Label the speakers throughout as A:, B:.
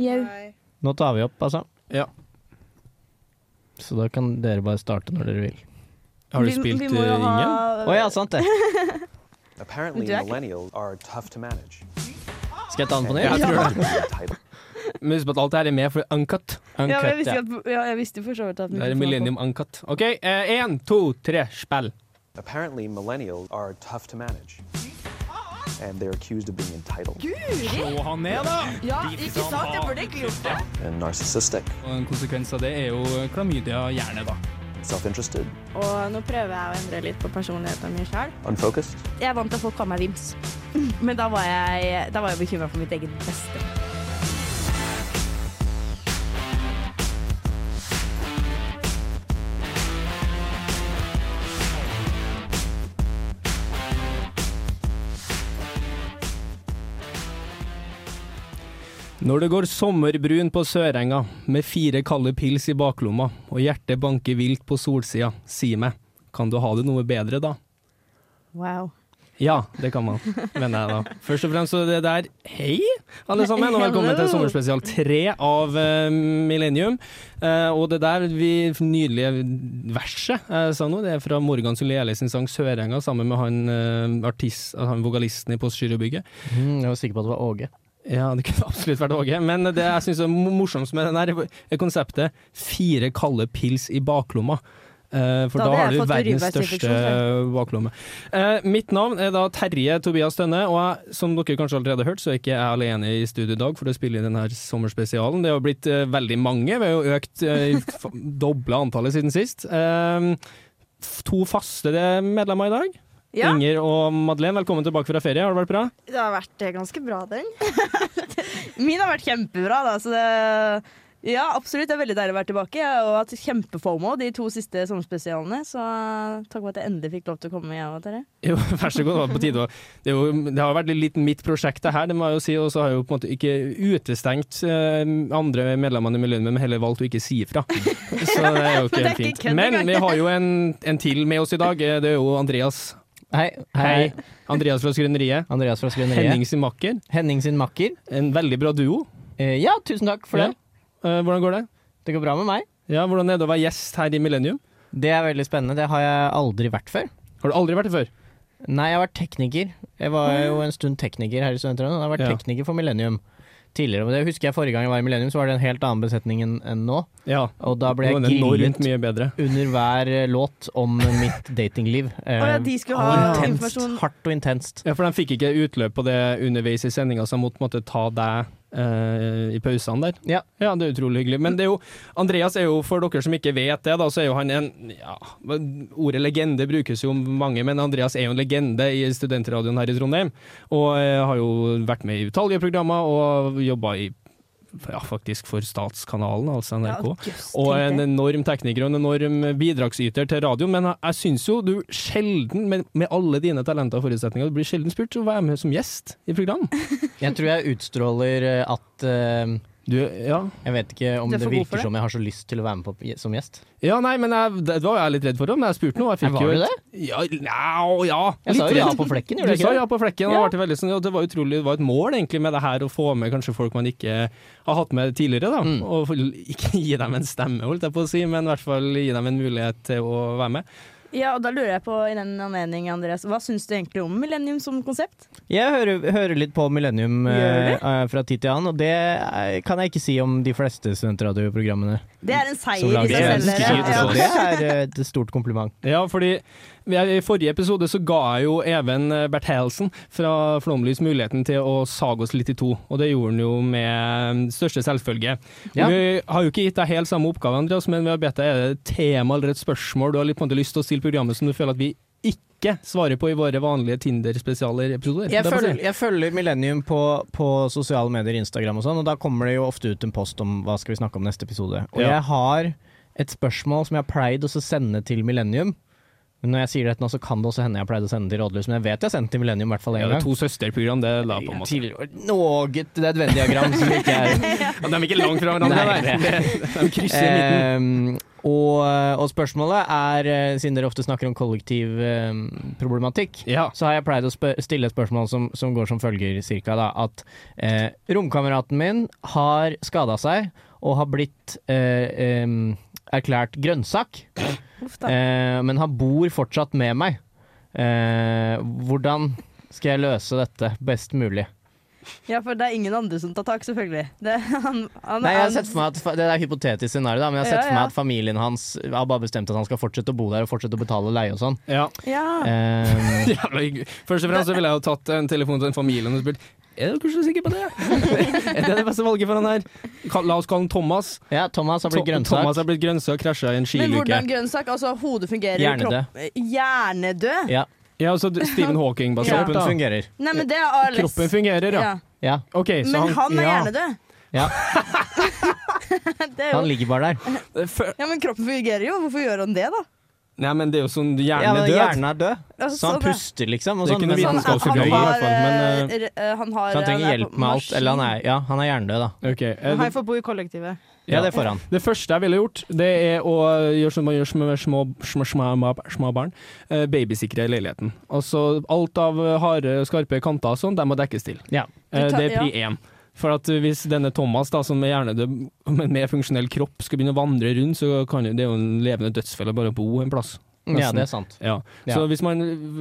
A: Jau.
B: Nei.
C: Nå tar vi opp, altså.
D: Ja.
C: Så da kan dere bare starte når dere vil.
D: Har du
A: Vi-
D: spilt
A: vi
D: eh,
A: må jo
D: ringen?
C: Å
A: ha-
C: ja, sant det.
E: Apparently,
A: Jack.
E: millennials are tough to manage.
C: Skal jeg ta den på ny?
D: Ja, jeg tror det.
E: Type
D: Men husk på at alt her er med for uncut.
A: Ja, men jeg
C: Uncut,
A: visste,
C: ja.
A: ikke at, ja, jeg visste for så vidt at
D: Det er
A: mikrofonen var
D: Millennium Uncut. OK, én, to, tre, spill.
E: Apparently, millennials are tough to manage. And they're accused of being entitled
D: Slå han ned, da!
A: på. Ja, ikke sant? Jeg burde ikke gjort det.
E: and narcissistic,
D: Og en konsekvens av det er jo klamydia hjerne, da.
E: self interested,
A: Og nå prøver jeg å endre litt på personligheten min sjøl.
E: unfocused,
F: Jeg er vant til at folk kaller meg Vims. Men da var jeg, da var jeg bekymra for mitt eget beste.
D: Når det går sommerbrun på Sørenga, med fire kalde pils i baklomma, og hjertet banker vilt på solsida, si meg, kan du ha det noe bedre da?
F: Wow.
D: Ja, det kan man, mener jeg da. Først og fremst så er det der, hei alle sammen, og velkommen til
A: Hello.
D: sommerspesial 3 av eh, Millennium. Eh, og det der vi, nydelige verset jeg sa nå, det er fra Morgan Suliele sin sang Sørenga, sammen med han, eh, artist, han vokalisten i Post Gyrobygget.
C: Mm, jeg var sikker på at det var Åge.
D: Ja, det kunne absolutt vært Åge, men det jeg syns er mo- morsomst med den her er konseptet fire kalde pils i baklomma. Eh, for
F: Da
D: da,
F: hadde
D: har
F: jeg
D: du
F: fått
D: verdens
F: urinveisinfeksjon,
D: største baklomme. Eh, mitt navn er da Terje Tobias Tønne, og jeg, som dere kanskje allerede har hørt, så er ikke jeg alene i studio i dag for å spille inn denne sommerspesialen. Det har blitt eh, veldig mange, vi har jo økt uh, dobla antallet siden sist. Eh, f- to faste medlemmer i dag.
A: Ja,
D: Inger og Madeleine, velkommen tilbake fra ferie, har det vært bra?
A: det har vært eh, ganske bra, den. Min har vært kjempebra, da, så det ja, absolutt. Det er veldig deilig å være tilbake. Jeg har jo hatt kjempefomo de to siste sommerspesialene, så takk for at jeg endelig fikk lov til å komme, jeg og dere.
D: Jo, vær så god. Det var på tide å Det, er jo, det har jo vært litt mitt prosjekt, det her, det må jeg jo si. Og så har jeg jo på en måte ikke utestengt eh, andre medlemmene i Miljøet, men heller valgt å ikke si ifra. Så det er
A: Men
D: jo
A: det er
D: ikke
A: ikke
D: fint.
A: kødd
D: Men
A: engang.
D: vi har jo en, en til med oss i dag. eh, Det er jo Andreas.
C: Hei.
D: Hei. Andreas fra Skrøneriet.
C: Andreas fra Skrøneriet. Henning.
D: Henning sin makker.
C: sin makker.
D: En veldig bra duo.
C: Eh, ja, tusen takk for
D: Ja.
C: det.
D: Eh, hvordan går det?
C: Det går bra med meg.
D: Ja, Hvordan er det å være gjest her i Millennium?
C: Det er veldig spennende. Det har jeg aldri vært før.
D: Har du aldri vært det før?
C: Nei, jeg har vært tekniker. Jeg var jo en stund tekniker her i Studentradioen. Jeg har vært
D: Ja.
C: tekniker for Millennium tidligere. Men det husker jeg forrige gang jeg var i Millennium, så var det en helt annen besetning enn enn nå.
D: Ja.
C: Og da ble
D: Nå
C: jeg
D: er det enormt
C: grillet
D: mye bedre.
C: under hver eh, låt om mitt datingliv. Eh,
A: Å ja, de skulle ha
C: og intenst.
A: informasjon.
C: Hardt og intenst.
D: Ja, for de fikk ikke utløp på det underveis i sendinga, så de måtte på en måte ta deg eh, i pausene der.
C: Ja.
D: det er utrolig hyggelig. Men det er jo, Andreas er jo, for dere som ikke vet det, da, så er jo han en ja, Ordet legende brukes jo om mange, men Andreas er jo en legende i studentradioen her i Trondheim. Og eh, har jo vært med i utallige programmer og jobba i ja, faktisk for Statskanalen, altså NRK. Og
C: eh,
D: en enorm tekniker og en enorm bidragsyter til radioen. Men jeg- jeg syns jo du sjelden, med, med alle dine talenter og forutsetninger, du blir sjelden spurt om å være med som gjest i program.
C: Jeg tror jeg utstråler eh, at eh,
D: Du, ja.
C: Jeg vet ikke om
A: Du er
C: det
A: for god for
C: virker
A: det.
C: som jeg har så lyst til å være med på som gjest.
D: ja, nei, men jeg, det var jeg litt redd for, det, men jeg spurte nå. Jeg fikk
C: Var
D: jo
C: du
D: et- Ja, nja, ja.
C: Jeg sa
D: litt
C: jo ja
D: redd.
C: på flekken,
D: Du
C: gjorde jeg
D: sa
C: ikke
D: ja
C: det?
D: på flekken, og
C: Ja.
D: det, var veldig sånn, ja, det var utrolig, det var et mål egentlig med det her å få med kanskje folk man ikke har hatt med tidligere. Da.
C: Mm.
D: Og få- ikke gi dem en stemme, holdt jeg på å si, men i hvert fall gi dem en mulighet til å være med.
A: Ja, og da lurer jeg på i den anledning, Andreas, hva syns du egentlig om Millennium som konsept?
C: Jeg hører, hører litt på Millennium eh, eh, fra tid til annen, og det eh, kan jeg ikke si om de fleste studentradioprogrammene.
A: Det er en
C: som
A: seier i
C: lages.
A: seg
D: en
A: selv.
D: skryt,
A: dere.
C: Så
D: altså.
A: Ja.
C: det er eh, et stort kompliment.
D: Ja, fordi vi- i forrige episode så ga jeg jo Even Berthelsen fra Flomlys muligheten til å sage oss litt i to, og det gjorde han jo med eh, største selvfølge. Og
C: Ja.
D: Vi har jo ikke gitt deg helt samme oppgave, Andreas, men vi har bedt deg er det et tema eller et spørsmål du har litt på en måte lyst til å stille programmet som du føler at vi ikke svarer på i våre vanlige Tinder-spesialer-episoder.
C: Jeg
D: Det er på
C: følger,
D: tide.
C: jeg følger Millennium på, på sosiale medier, Instagram og sånn, og da kommer det jo ofte ut en post om hva skal vi snakke om neste episode. Og
D: Ja.
C: jeg har et spørsmål som jeg har pleid å så sende til Millennium. Men når jeg sier dette nå, så kan det også hende jeg har pleid å sende til Rådløs, men jeg vet jeg har sendt til Millennium i hvert fall
D: Ja,
C: én
D: det er
C: gang.
D: to søsterprogram, det la på en måte.
C: Tidligere- Noe, det er et Venn-diagram som ikke er
D: Ja, de er Eh, ikke langt fra hverandre,
C: Nei,
D: nei. De krysser midten.
C: Ehm, Og, og spørsmålet er, eh, siden dere ofte snakker om kollektivproblematikk,
D: Ja.
C: så har jeg pleid å spør stille et spørsmål som, som går som følger, cirka, da, at eh, romkameraten min har skada seg og har blitt eh, em, erklært grønnsak,
A: Uff da.
C: eh, men han bor fortsatt med meg. Eh, hvordan skal jeg løse dette best mulig?
A: Ja, for det er ingen andre som tar tak, selvfølgelig. Det, han, han,
C: Nei, jeg har
A: han-
C: sett for meg at, fa- Det er et hypotetisk scenario, da, men jeg har sett
A: Ja,
C: for meg
A: ja.
C: at familien hans har bare bestemt at han skal fortsette å bo der og fortsette å betale leie og sånn.
D: Ja.
A: Ja.
C: Eh,
D: Jævla hyggelig. Først og fremst så ville jeg jo tatt en telefon til en familie og spurt Er dere så sikre på det? er det det beste valget for han her? Kall- La oss kalle han Thomas.
C: ja, Thomas har blitt
D: Tom-
C: grønnsak.
D: Thomas har blitt grønnsak, krasja i en
A: Men
D: skiluke.
A: hvordan grønnsak? Altså, hodet fungerer jo
C: Hjernedød.
A: kropp- eh, Hjernedød?
C: Ja,
D: Ja, altså Stephen Hawking-basert.
C: Kroppen
D: da.
C: fungerer.
A: Nei, men det er ALS.
D: Kroppen fungerer, ja.
A: Ja.
C: Ja,
D: Ok, så
A: Men han er
D: ja.
A: hjernedød.
C: ja.
A: Det er
C: Han
A: jo.
C: ligger bare der.
D: Fø-
A: Ja, men kroppen fungerer jo. Hvorfor gjør han det, da?
D: Nei, men det er jo sånn
C: Ja, men
D: hjernedød.
C: Hjernen er død,
A: Altså,
C: så han
A: sånn er-
C: puster, liksom. Og
D: Det er
C: sånn,
D: ikke noe
A: Sånn, han,
C: men han,
D: Vitenskapsforbryteri, i hvert
A: har,
D: fall,
A: eh,
D: men,
A: r- han har
C: så han trenger
A: er
C: hjelp
A: på
C: med alt. Eller han
A: maskin.
C: er, ja, han er hjernedød, da.
D: Ok, eh,
F: Han får bo i kollektivet.
C: Ja, det får han.
D: Det første jeg ville gjort, det er å gjøre som man gjør med små, små, små, små- små barn. Eh, babysikre leiligheten. Altså alt av eh, harde, skarpe kanter og sånn, de må dekkes til.
C: Ja.
D: Eh,
A: Du tar-
D: det er pri én. For at hvis denne Thomas, da, som er hjernedød, men med funksjonell kropp, skal begynne å vandre rundt, så kan jo, det er jo en levende dødsfelle bare å bo en plass.
C: ja,
D: Nesten.
C: det er sant.
D: Ja.
C: Ja.
D: Så hvis man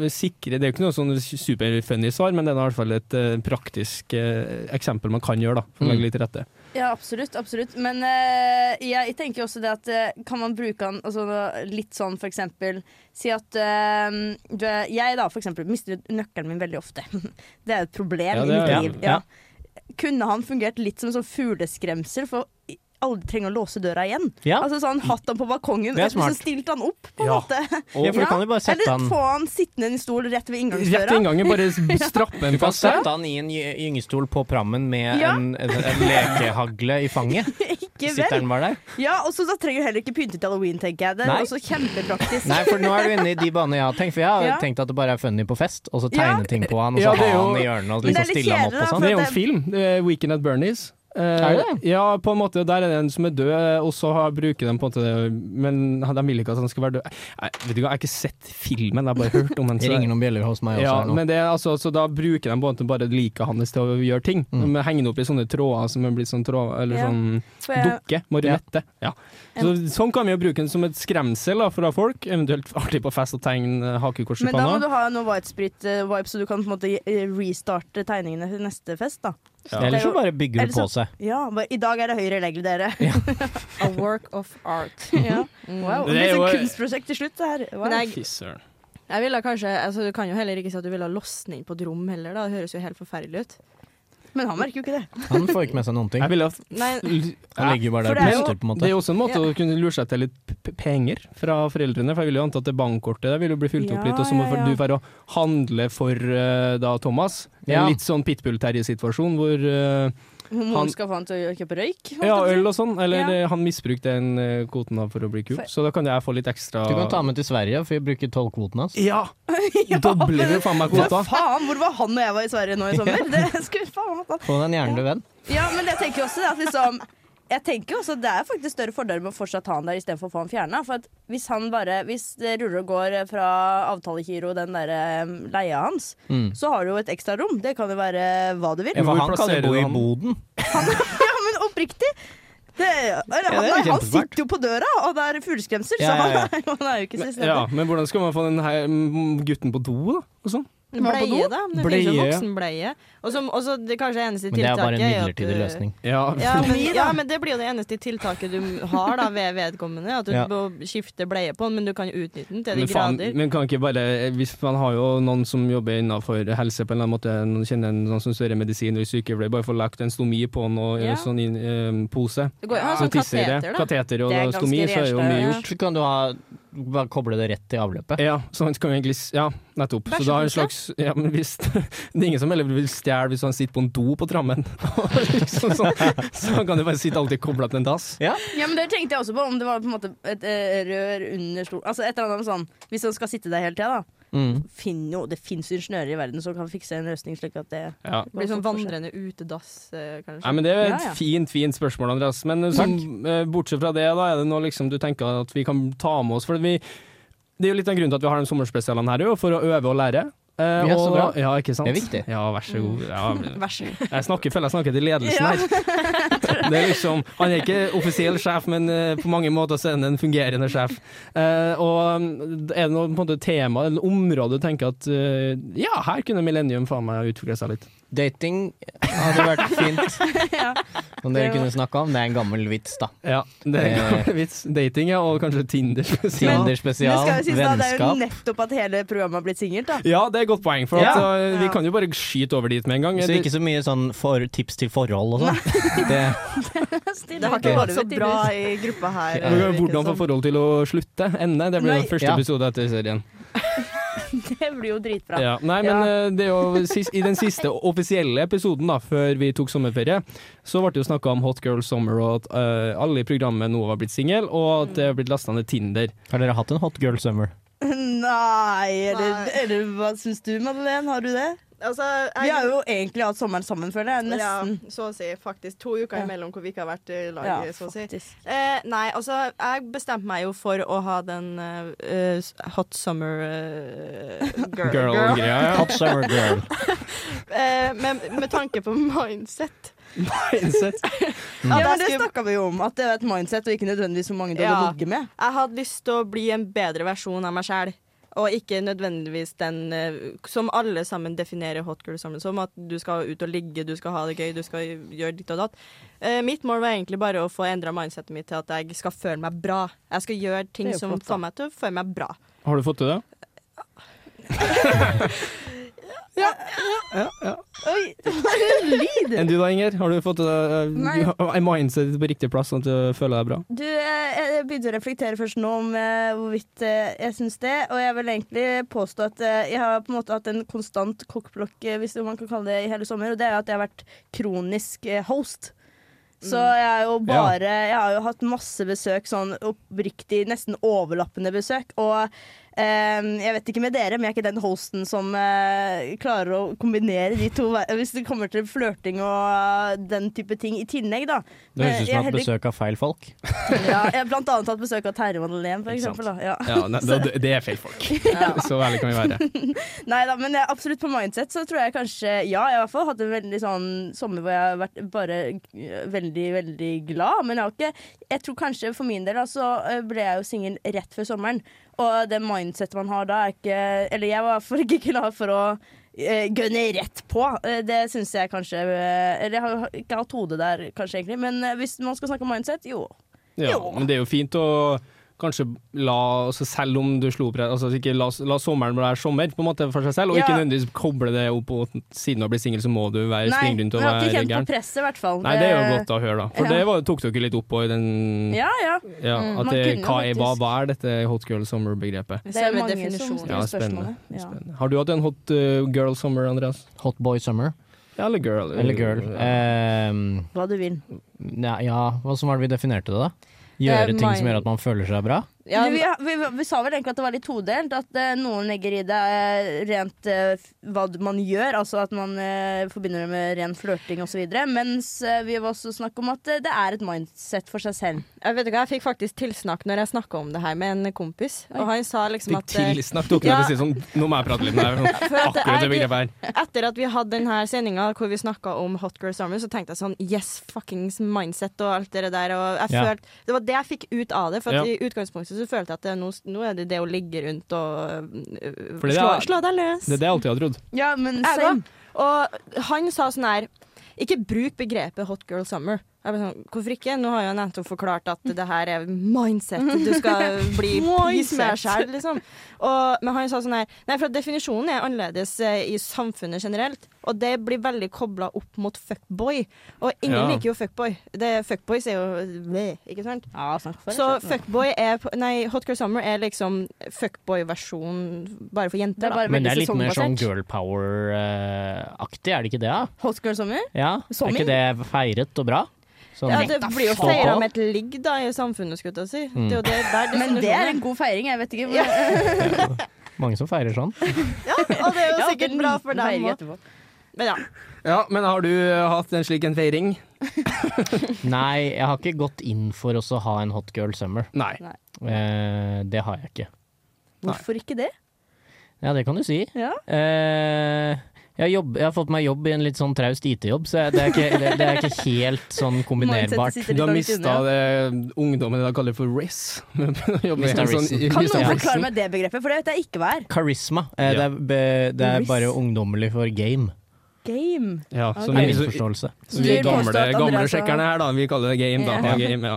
D: sikrer Det er jo ikke noe sånn superfunny svar, men det er i hvert fall et eh, praktisk eh, eksempel man kan gjøre da, for å
C: Mm.
D: legge litt til rette.
A: Ja, absolutt. absolutt. Men eh, jeg tenker jo også det at eh, kan man bruke han altså, litt sånn for eksempel Si at eh, du er, jeg da for eksempel mister nøkkelen min veldig ofte. Det er et problem
D: Ja,
A: i
D: det
A: mitt
D: er-
A: liv.
C: ja,
A: Ja. Kunne han fungert litt som en sånn fugleskremsel for å aldri trenge å låse døra igjen?
C: Ja.
A: Altså sånn hatt han på balkongen,
C: Det er
A: og så
C: smart.
A: stilt han opp på en
D: Ja.
A: måte.
C: Ja, for du
A: Ja,
C: kan jo bare sette
A: Eller
C: han
A: få han sittende i en stol rett ved
D: Rett
A: inngangsdøra.
D: i inngangen, bare s- strappe en
C: Du kan
D: fast der.
C: sette han i en gy- gyngestol på prammen med
A: Ja.
C: en, en, en lekehagle i fanget.
A: Ikke
C: Sitter
A: vel?
C: den bare der?
A: Ja, og så da trenger du heller ikke pynte til halloween, tenker jeg. Det er
C: Nei.
A: også kjempepraktisk.
C: Nei, for nå er du inne i de banene jeg har tenkt. For jeg har
A: Ja.
C: tenkt at det bare er funny på fest, og så
A: Ja.
C: tegne ting på han, og
D: Ja,
C: så
D: det er
C: ha
D: jo-
C: han i hjørnet og
A: Men det er
C: liksom
A: litt
C: stille han opp
A: kjedelig,
C: og
A: da,
C: sånn.
D: Det er jo
A: det-
D: en film. det er Weekend at Bernies. Eh,
C: Er det?
D: Ja, på en måte. Der er det en som er død, og så har- bruker de på en måte det, Men de vil ikke at han skal være død. Jeg, vet du hva, jeg har ikke sett filmen, jeg har bare hørt om den. så-
C: Det ringer noen bjeller hos meg også
D: Ja,
C: her nå.
D: men det er altså, så da bruker de på en måte bare liket hans til å gjøre ting.
C: Mm.
D: De henger det opp i sånne tråder som er blitt sånn tråd, eller
A: Ja.
D: sånn
A: For jeg-
D: Dukke, marionette. Ja. Så, sånn kan vi jo bruke den som et skremsel da, fra folk, eventuelt artig på fest og tegne eh, hakekors i
A: Men da må
D: panna.
A: du ha noe whitesprit-vibe, så du kan på en måte eh, restarte tegningene til neste fest. da
D: Ja.
C: Eller så bare bygger
A: Eller
C: du på
A: så-
C: seg.
A: Ja, bare, I dag er det høyre regel, dere.
F: A work of art.
A: ja. Wow.
D: Det
A: Det
D: er
A: er
D: jo-
A: sånn kunstprosjekt til slutt. Det her. Wow.
F: Men jeg,
D: Fy søren.
F: jeg ville kanskje altså, Du kan jo heller ikke si at du ville ha låst den inn på et rom heller, da. Det høres jo helt forferdelig ut.
A: Men han merker jo ikke det.
C: Han får ikke med seg noen ting.
D: Jeg ville ha
F: Nei,
C: Han ligger jo bare
A: for
C: der
A: det er
C: og
A: jo-
C: puster, på en
D: Det
C: måte.
D: er jo også en måte å kunne lure seg til litt p- p- penger fra foreldrene, for jeg vil jo anta at det bankkortet der vil jo bli fylt
A: Ja,
D: opp litt, og så må
A: ja, ja.
D: du være å handle for eh, da Thomas. Det er
C: Ja.
D: En litt sånn Pitbull-Terje-situasjon hvor eh, Han-
A: Moren skal få han til å kjøpe røyk. holdt jeg på
D: Ja,
A: å si.
D: øl og sånn, eller
A: Ja.
D: eh, han misbrukte den eh, kvoten da for å bli kul,
A: For-
D: så da kan jeg få litt ekstra
C: Du kan ta med til Sverige, for vi bruker tollkvoten hans.
D: Ja! Dobler du faen meg kvota?
A: For faen, hvor var han og jeg var i Sverige nå i sommer? Det skulle faen altså. meg tatt.
C: Få deg en hjernedød venn.
A: Ja, men jeg tenker jo også det at liksom jeg tenker jo også at Det er faktisk større fordeler med å fortsatt ha han der istedenfor å få han fjerna. For at hvis han bare Hvis det ruller og går fra avtalekiro, den der eh, leia hans,
C: Mm.
A: så har du jo et ekstra rom. Det kan jo være hva du vil.
C: Ja,
D: Hvor
C: for han kan jo
D: plasserer
C: bo
D: du
C: i
D: han?
C: boden.
A: Ja, men oppriktig. Det, eller,
C: Ja, det er
A: han, han
C: kjempesmart.
A: sitter jo på døra, og det er fugleskremsel,
C: Ja, ja, ja.
A: så han, er- han er jo ikke
D: Men,
A: selvstendig.
D: ja, men hvordan skal man få den her mm, gutten på do, da? Og sånn?
F: bleie, da. Det finnes jo
D: Bleie.
F: voksenbleie. Og som- og så det kanskje eneste
C: Men det er
F: tiltaket
C: bare en
F: at
C: midlertidig
F: du-
C: løsning.
D: Ja.
F: Ja men,
A: Lobotomi, da.
F: ja, men det blir jo det eneste tiltaket du har da ved vedkommende. At du
C: Ja.
F: må skifte bleie på den, men du kan jo utnytte den til de
D: Men, faen,
F: grader.
D: men kan ikke bare Hvis man har jo noen som jobber innenfor helse på en eller annen måte, noen kjenner en- noen som studerer medisin eller sykepleier, bare få lagt en stomi på en og,
F: Ja.
D: sånn inn, eh, pose.
F: Det går jo an å ha
D: Så
F: sånn
D: tisser i
F: kateter,
D: det.
F: da.
D: Kateter og
A: Det er ganske
D: stomi, så er jo mye
A: renslig.
D: gjort.
C: Så kan du ha, bare koble det rett til avløpet.
D: Ja, så han kan jo egentlig s- Ja, nettopp. Så da har en slags Ja, men hvis Det er ingen som heller vil stjele hvis han sitter på en do på trammen. liksom, sånn. Så han kan jo bare sitte alltid kobla til en dass.
C: Ja.
A: Ja, men Det tenkte jeg også på, om det var på en måte et eh, rør under stolen Altså et eller annet sånn Hvis han skal sitte der hele tida, da.
C: Mm.
A: Finn jo, det fins ingeniører i verden som kan fikse en løsning slik at det
D: Ja.
F: Blir sånn vandrende utedass, eh, kanskje.
D: Nei, men Det er et
A: Ja, ja.
D: fint fint spørsmål, Andreas. Men eh, sånn, eh, bortsett fra det, da, er det noe liksom, du tenker at vi kan ta med oss? For vi, det er jo litt av grunnen til at vi har de sommerspesialene her, jo, for å øve og lære. Eh,
C: Ja, så
D: og-
C: bra.
D: Ja, ikke sant?
C: Det er viktig. Mm.
D: Ja, vær så god. Ja,
F: Vær så god.
D: Jeg snakker, føler jeg snakker til ledelsen
A: Ja.
D: her. Det er liksom, han er ikke offisiell sjef, men eh, på mange måter så er han en fungerende sjef. Eh, og mm, Er det noe på en måte, tema eller område du tenker at eh, ja, her kunne Millennium faen meg utvikle seg litt?
C: Dating hadde vært fint
A: Ja.
C: om dere kunne snakka om. Det er en gammel vits, da.
D: Ja, det er en
C: Eh.
D: gammel vits. Dating, ja, og kanskje Tinder spesielt.
A: Men
C: Tinder spesial,
A: skal jo sies da, det er jo
C: vennskap.
A: nettopp at hele programmet har blitt singelt, da.
D: Ja, det er et godt poeng, for at,
C: Ja.
D: eh, vi
A: Ja.
D: kan jo bare skyte over dit med en gang.
C: Så
D: Det-
C: ikke så mye sånn for, tips til forhold og sånn. Det,
A: Det har ikke vært så bra i gruppa her.
D: Men
A: virker det
D: Hvordan få
A: som.
D: forhold til å slutte? Ende? Det blir
A: Nei.
D: jo første
C: Ja.
D: episode etter serien.
A: Det blir jo dritbra.
D: Ja. Nei, men eh, det er jo sis- I den siste offisielle episoden da, før vi tok sommerferie, så ble det jo snakka om Hot Girl Summer, og at eh, alle i programmet nå var blitt single, og at det har blitt lasta ned Tinder.
C: har dere hatt en hot girl summer?
A: Nei, eller,
F: Nei.
A: eller hva syns du, Madeleine? Har du det?
F: Altså,
A: Vi har jo egentlig hatt sommeren sammen, føler jeg. Nesten.
F: Ja, så å si. Faktisk. To uker
A: Ja.
F: imellom hvor vi ikke har vært i lag,
A: Ja,
F: så å si.
A: faktisk.
F: Eh, nei, altså, jeg bestemte meg jo for å ha den eh, s- hot summer eh, girl.
D: Girl-greia. ja.
C: Hot summer girl.
F: Eh, men med tanke på mindset.
D: Innsett.
A: Ja,
F: At
A: men
F: jeg,
A: Det
F: skulle,
A: snakka vi jo om, at det er et mindset og ikke nødvendigvis hvor mange du
F: Ja.
A: hadde ligget med.
F: jeg hadde lyst til å bli en bedre versjon av meg sjæl. Og ikke nødvendigvis den eh, som alle sammen definerer hot girl summer som. At du skal ut og ligge, du skal ha det gøy, du skal gjøre ditt og datt. Eh, mitt mål var egentlig bare å få endra mindsetet mitt til at jeg skal føle meg bra. Jeg skal gjøre ting
A: Det er jo
F: som
A: flott, da.
F: får meg til å føle meg bra.
D: Har du fått til det?
A: Oi, det var en lyd!
D: Enn du da, Inger? Har du fått til
A: Nei.
D: det? Uh, mindset på riktig plass, sånn at du føler deg bra?
A: Du, eh, jeg begynte å reflektere først nå om eh, hvorvidt eh, jeg syns det. Og jeg vil egentlig påstå at eh, jeg har på en måte hatt en konstant kokkblokk, eh, hvis man kan kalle det, i hele sommer. Og det er at jeg har vært kronisk eh, host. Så jeg er jo bare Jeg har jo hatt masse besøk, sånn oppriktig nesten overlappende besøk. Og eh, jeg vet ikke med dere, men jeg er ikke den hosten som eh, klarer å kombinere de to. ver- Hvis det kommer til flørting og den type ting i tillegg, da.
C: Det høres
A: Men
C: ut
A: jeg
C: som
A: er
C: at
A: heller-
C: besøk av feil folk.
A: ja, jeg har blant annet hatt besøk av Terje Madeleine, for
D: Ikke sant.
A: eksempel. Da. Ja.
D: Ja, nei, det, det er feil folk. Så ærlig kan vi være.
A: Nei da, men jeg, absolutt på mindset så tror jeg kanskje Ja, jeg har i hvert fall hatt en veldig sånn sommer hvor jeg har vært bare eh, veldig, veldig glad. Men jeg har ikke Jeg tror kanskje for min del da, så eh, ble jeg jo singel rett før sommeren. Og det mindsetet man har da, er ikke Eller jeg var for ikke klar for å eh, gønne rett på. Eh, det syns jeg kanskje eh, Eller jeg har jo ikke hatt hodet der, kanskje, egentlig. Men eh, hvis man skal snakke om mindset, jo.
D: Ja,
A: Jo.
D: men det er jo fint å kanskje la altså Selv om du slo opp her, altså ikke la, la sommeren være sommer på en måte for seg selv, og
A: Ja.
D: ikke nødvendigvis koble det opp og siden du har blitt singel, så må du være
A: Nei,
D: springe
A: men
D: rundt
A: jeg
D: og
A: har ikke
D: være
A: kjent på
D: gæren.
A: presset, i hvert fall.
D: Nei, det er jo godt å høre, da. For
A: Ja.
D: det var, tok dere litt opp på i den ja,
A: Ja, ja.
D: at
A: Mm, man
D: det,
A: kunne
D: hva, er, hva,
A: faktisk-
D: hva er dette hot girl summer-begrepet?
A: Det er jo mange som
D: Ja,
A: stiller
D: spennende.
A: spørsmålet. Ja.
D: Spennende. Har du hatt en hot uh, girl summer, Andreas?
C: Hot boy summer.
D: Ja, eller girl? eh,
C: Eller
D: Øh,
C: girl. Ehm,
A: Hva du vil.
C: ja, ja, hva som var det vi definerte det, da? Gjøre
F: Eh,
C: ting som
F: mind-
C: gjør at man føler seg bra?
F: Ja,
A: vi, vi, vi sa vel egentlig at det var litt todelt. At eh, noen legger i det eh, rent eh, f- hva d- man gjør, altså at man eh, forbinder det med ren flørting osv. Mens eh, vi var også snakk om at eh, det er et mindset for seg selv.
F: Jeg vet ikke, jeg fikk faktisk tilsnakk når jeg snakka om det her med en kompis. Og han sa liksom
D: Fikk
F: at eh,
D: tilsnakk dere
F: Ja.
D: for å si det sånn, nå må jeg prate litt med deg.
F: For at det
D: Akkurat det
F: er-
D: begrepet her.
F: etter at vi hadde denne sendinga hvor vi snakka om Hot Girl Summer, så tenkte jeg sånn Yes, fuckings mindset og alt det der. Og jeg
C: Ja.
F: følte, det var det jeg fikk ut av det. For at
D: Ja.
F: i utgangspunktet så følte jeg at det, nå, nå er det det å ligge rundt og øh,
D: Fordi det
F: slå,
D: er-
F: slå deg løs.
D: Det er det jeg alltid har trodd.
A: Ja, men
F: Jeg
A: same.
F: da. Og han sa sånn her Ikke bruk begrepet hot girl summer. Jeg ble sånn, Hvorfor ikke? Nå har jo nettopp forklart at det her er mindset. Du skal bli peace med deg selv, liksom. Og, men han sa sånn her Nei, for at definisjonen er annerledes eh, i samfunnet generelt. Og det blir veldig kobla opp mot fuckboy. Og ingen
D: Ja.
F: liker jo fuckboy. Det, fuckboys er jo bleh, Ikke sant?
A: Ja, snakk for
F: Så
A: deg selv.
F: fuckboy er på- Nei, hot girl summer er liksom fuckboy-versjonen bare for
A: Det
F: jenter,
A: er
F: da.
A: bare
C: Men det er
A: veldig
C: litt mer sånn
A: sesongbasert.
C: girl power-aktig, er det ikke det? da?
A: Hot girl summer?
C: Ja? Er
A: Somming?
C: ikke det feiret og bra? Sånn,
F: Ja, det blir jo
C: Stå
F: feira
C: på.
F: med et ligg
C: Mm.
F: da i samfunnet, skulle jeg til å si. Det er jo det der
A: Men det er
F: definisjonen
A: en
F: er.
A: god feiring, jeg vet ikke.
C: Mange som feirer
F: Og
C: sånn.
F: det er jo sikkert bra for deg òg.
A: òg.
F: Men ja.
D: Ja, men har du eh, hatt en slik en feiring?
C: Nei, jeg har ikke gått inn for også å ha en hot girl summer.
D: Nei.
C: Eh, det har jeg ikke.
A: Hvorfor ikke det?
C: Ja, det kan du si.
A: Ja.
C: Eh, jeg, har jobb, jeg har fått meg jobb i en litt sånn traust IT-jobb, så jeg, det, er ikke, det, det er ikke helt sånn
A: Mindsetet
C: kombinerbart.
A: sitter
D: Du har
A: litt langt
D: mista
A: unna.
D: det eh, ungdommen i dag kaller for RIS.
C: Mr.
D: sånn-
A: Kan
C: Risen. Mr.
A: noen
C: Hansen.
A: forklare meg det begrepet, for det vet jeg ikke hva er.
C: Charisma. Eh,
D: Ja.
C: Det er, be, det er
A: Risk.
C: bare ungdommelig for game,
A: Game.
D: Ja, så
C: er min
D: vi, så,
C: forståelse.
D: så vi
A: Du
D: gamle,
A: påstår at
D: gamle
A: Andreas har-
D: sjekkerne her, da, vi kaller det game, da.
A: Ja.
D: Game, ja.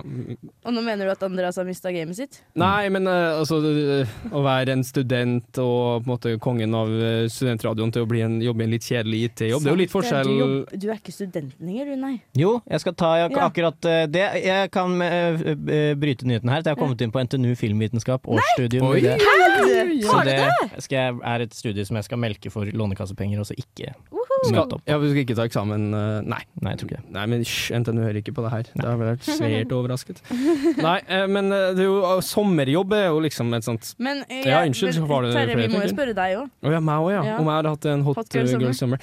A: Og nå mener du at Andreas har mista gamet sitt?
D: Nei, men eh, altså eh, Å være en student og på en måte kongen av eh, studentradioen til å bli en, jobbe i en litt kjedelig IT-jobb, det er jo litt forskjell.
A: Du, jobb- du er ikke studenten lenger, du, nei.
C: Jo, jeg skal ta ak
A: Ja.
C: akkurat eh, det. Jeg kan eh, eh, bryte nyheten her. at Jeg har kommet inn på NTNU filmvitenskap, årsstudium.
D: Oi!
C: i det.
A: Du-
C: Så det skal jeg, er et studie som jeg skal melke for lånekassepenger, og så ikke
D: Skal,
C: møte opp.
D: ja, vi skal ikke ta eksamen eh, Nei.
C: Nei, jeg tror ikke det.
D: Nei, men hysj, NTNU hører ikke på det her. Det har vi vært svært overrasket. Nei, eh, men eh, det er jo, eh, sommerjobb er jo liksom et sånt
A: Men eh,
D: Ja, unnskyld, så
A: men
D: var det
A: Terje, vi
D: flere
A: må jo
D: ting.
A: spørre deg òg.
D: Å ja, meg òg, ja.
A: Ja.
D: Om jeg har hatt en hot,
A: Hot girl
D: uh, girl summer?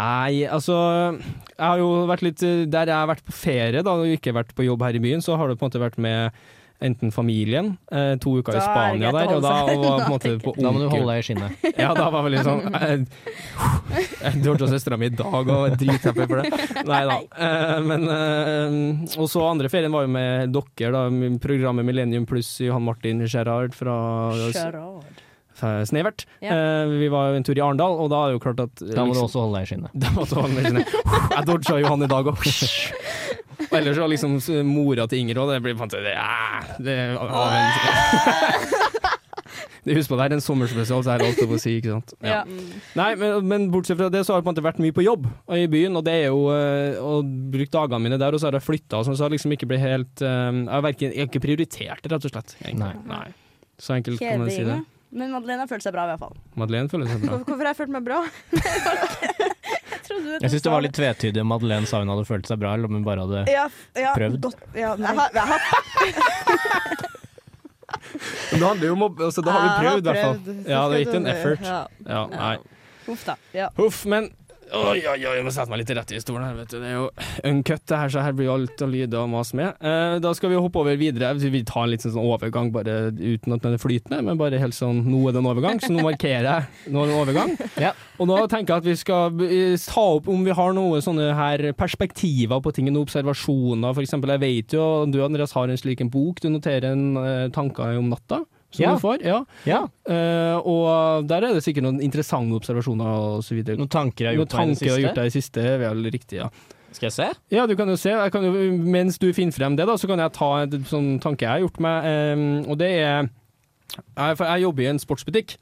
D: Nei, altså Jeg har jo vært litt uh, Der jeg har vært på ferie, da, og ikke vært på jobb her i byen, så har det på en måte vært med enten familien, eh, to
A: Da er
D: uker i
A: det
D: Spania
A: greit å
D: der, og da
A: holde seg
D: og var på en
A: unna,
D: måte på
C: Da må du
D: onkel-
C: holde deg i skinnet.
D: ja, da var vel litt sånn eh, Du hørte søstera mi i dag og var drithappy for det. Nei da. Eh, Men eh, Og så andre ferien var jo med dere, da. med Programmet Millennium Pluss Johan Martin Gerhard fra fra Snevert.
A: Ja.
D: Eh, vi var jo en tur i Arendal, og da er det jo klart at eh,
C: Da må du
D: liksom-
C: også holde deg i skinnet.
D: Da måtte han med sine Jeg dodga jo han i dag òg. Og ellers var liksom s- mora til Inger òg. Det blir på en måte det, æ, det, avhengs- Det- Husk på, det er en sommerspesial, så her er alt lov å si, ikke sant.
A: Ja.
F: Mm.
D: Nei, men, men bortsett fra det, så har jeg på en måte vært mye på jobb og i byen, og det er jo eh, Og brukt dagene mine der, og så har jeg flytta og sånn, så jeg har liksom ikke blitt helt eh, Jeg har verken- jeg har ikke prioritert det, rett og slett. egentlig.
C: Nei.
D: Nei. Så enkelt kan man si det.
A: Kjedelig. Men Madeleine følte seg bra, i hvert fall.
D: Madeleine føler seg bra.
F: Hvorfor har jeg følt meg bra?
C: Jeg syns det var litt tvetydig om Madeleine sa hun hadde følt seg bra, eller om hun bare hadde
A: ja, f- ja,
C: prøvd.
A: dot- Ja, nei.
F: Jeg har, jeg har,
D: Men det handler jo om å altså, Da har du prøvd, i hvert fall. Ja, det er ikke en effort.
F: Ja.
D: Ja, nei.
A: Huff da. Ja.
D: Huff, men Oi, oi, oi, jeg må sette meg litt rett i stolen her, vet du. Det er jo uncut, det her, så her blir jo alt av lyder og mas med. Eh, da skal vi hoppe over videre. Vi tar en litt sånn overgang, bare uten at den er flytende, men bare helt sånn Nå er det en overgang, så nå markerer jeg nå er det en overgang.
C: Ja.
D: Og da tenker jeg at vi skal eh, ta opp om vi har noen sånne her perspektiver på ting, noen observasjoner, for eksempel. Jeg vet jo du, Andreas, har en slik en bok. Du noterer en eh, tanker om natta, som
C: Ja.
D: du får. Ja.
C: Ja,
D: Eh, og der er det sikkert noen interessante observasjoner og så videre.
C: noen tanker jeg har
D: Noen
C: gjort meg i
D: tanker
C: det
D: jeg har
C: siste.
D: gjort deg i det siste, er vel riktig, ja.
C: Skal jeg se?
D: Ja, du kan jo se. Jeg kan jo, mens du finner frem det, da, så kan jeg ta en sånn tanke jeg har gjort meg. eh, og det er jeg, For jeg jobber i en sportsbutikk,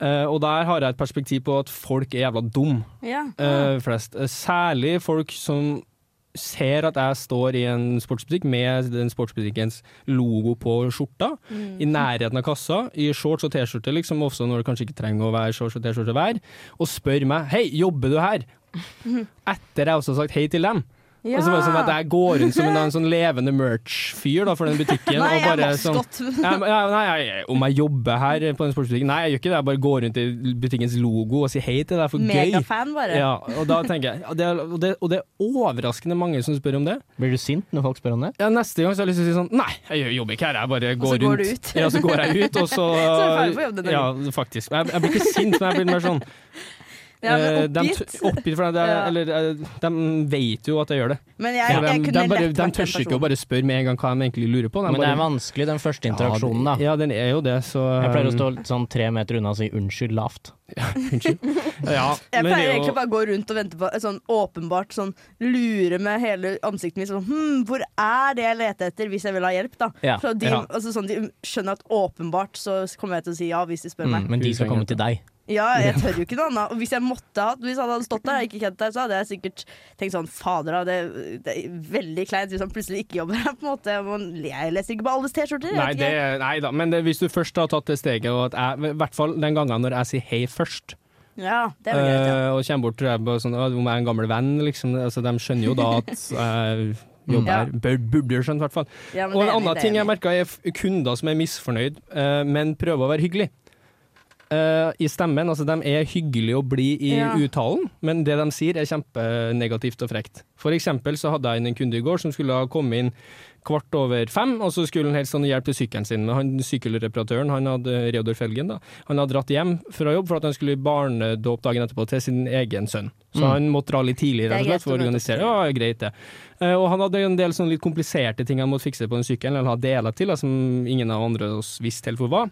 D: eh, og der har jeg et perspektiv på at folk er jævla dum,
A: Ja.
D: eh, flest. Eh, Særlig folk som ser at jeg står i en sportsbutikk med den sportsbutikkens logo på skjorta,
A: Mm.
D: i nærheten av kassa, i shorts og T-skjorte, liksom, også når det kanskje ikke trenger å være shorts og T-skjorte hver, og spør meg 'Hei, jobber du her?' Etter jeg også har sagt hei til dem.
A: Ja.
D: Og så var det sånn at jeg går rundt som en, en sånn levende merch-fyr da, for den butikken.
A: Nei,
D: og
A: jeg er
D: bare sånn,
A: maskott.
D: ja, men- ja, nei, jeg, om jeg jobber her på den sportsbutikken? Nei, jeg gjør ikke det. Jeg bare går rundt i butikkens logo og sier hei til deg. Det er for gøy.
A: Megafan, bare.
D: Ja, og da tenker jeg, og det, er- og, det, og det er overraskende mange som spør om det.
C: Blir du sint når folk spør om det?
D: Ja, neste gang så har jeg lyst til å si sånn Nei, jeg gjør- jobber ikke her, jeg bare går,
A: så går
D: rundt.
A: du ut.
D: Ja, så går jeg ut, og så
A: Så er du ferdig på jobb den dagen.
D: Ja, faktisk. Jeg, jeg blir ikke sint, men jeg blir mer sånn
A: Ja, men
D: eh, dem
A: oppgitt.
D: t- oppgitt for det,
A: Ja.
D: eller, eh, de vet jo at jeg gjør det.
A: Men jeg,
D: Ja,
A: jeg
D: de,
A: kunne
D: de, bare,
A: lett
D: de
A: vært den
D: tør ikke å
A: personen.
D: bare spørre med en gang hva de egentlig lurer på. De
C: Men det
D: bare,
C: er vanskelig, den første interaksjonen, da.
D: Ja, den er jo det, så
C: Jeg pleier å stå litt sånn tre meter unna og si unnskyld lavt.
D: eh, ja,
A: Jeg
D: men det er
A: pleier
D: jo-
A: egentlig bare å gå rundt og vente på sånn åpenbart sånn lure med hele ansiktet mitt sånn Hm, hvor er det jeg leter etter, hvis jeg vil ha hjelp, da?
C: Ja,
A: så de,
D: ja.
A: altså, sånn, de skjønner at åpenbart så kommer jeg til å si ja, hvis de spør meg.
C: Mm, men de skal komme til deg.
A: Ja, jeg tør jo ikke noe annet. Og hvis jeg måtte ha Hvis han hadde stått der og ikke kjent deg, så hadde jeg sikkert tenkt sånn Fader, da, det, det er veldig kleint hvis han plutselig ikke jobber her, på en måte. Man- Jeg leser ikke på alles T-skjorter. jeg
D: Nei,
A: vet
D: det,
A: ikke.
D: nei da, men det, hvis du først har tatt det steget, og at jeg, i hvert fall den gangen når jeg sier hei først,
A: Ja, det er vel greit, ja.
D: eh, og kommer bort til deg bare sånn «Å, Om jeg er en gammel venn, liksom. Altså, de skjønner jo da at jeg jobber
A: Ja.
D: her. Bør- Burde jo skjønt, i hvert fall.
A: ja men
D: Og
A: det
D: en
A: er enig,
D: annen
A: det er
D: ting jeg
A: enig.
D: merka, er f- kunder som er misfornøyd, eh, men prøver å være hyggelig. eh, i stemmen. Altså, de er hyggelige å bli i
A: Ja.
D: uttalen, men det de sier er kjempenegativt og frekt. For eksempel så hadde jeg inn en kunde i går som skulle ha kommet inn kvart over fem, og så skulle han helst sånn hjelpe sykkelen sin. Men han sykkelreparatøren, han hadde Reodor Felgen, da, han hadde dratt hjem fra jobb for at han skulle i barnedåp dagen etterpå til sin egen sønn. Så
C: Mm.
D: han måtte dra litt tidlig, rett og
A: Det er greit
D: slett, for å
A: å møte opp
D: organisere.
A: tidlig.
D: Ja, greit det. Eh, Og han hadde en del sånn litt kompliserte ting han måtte fikse på den sykkelen, eller ha deler til, da, som ingen av andre oss visste helt hvor var.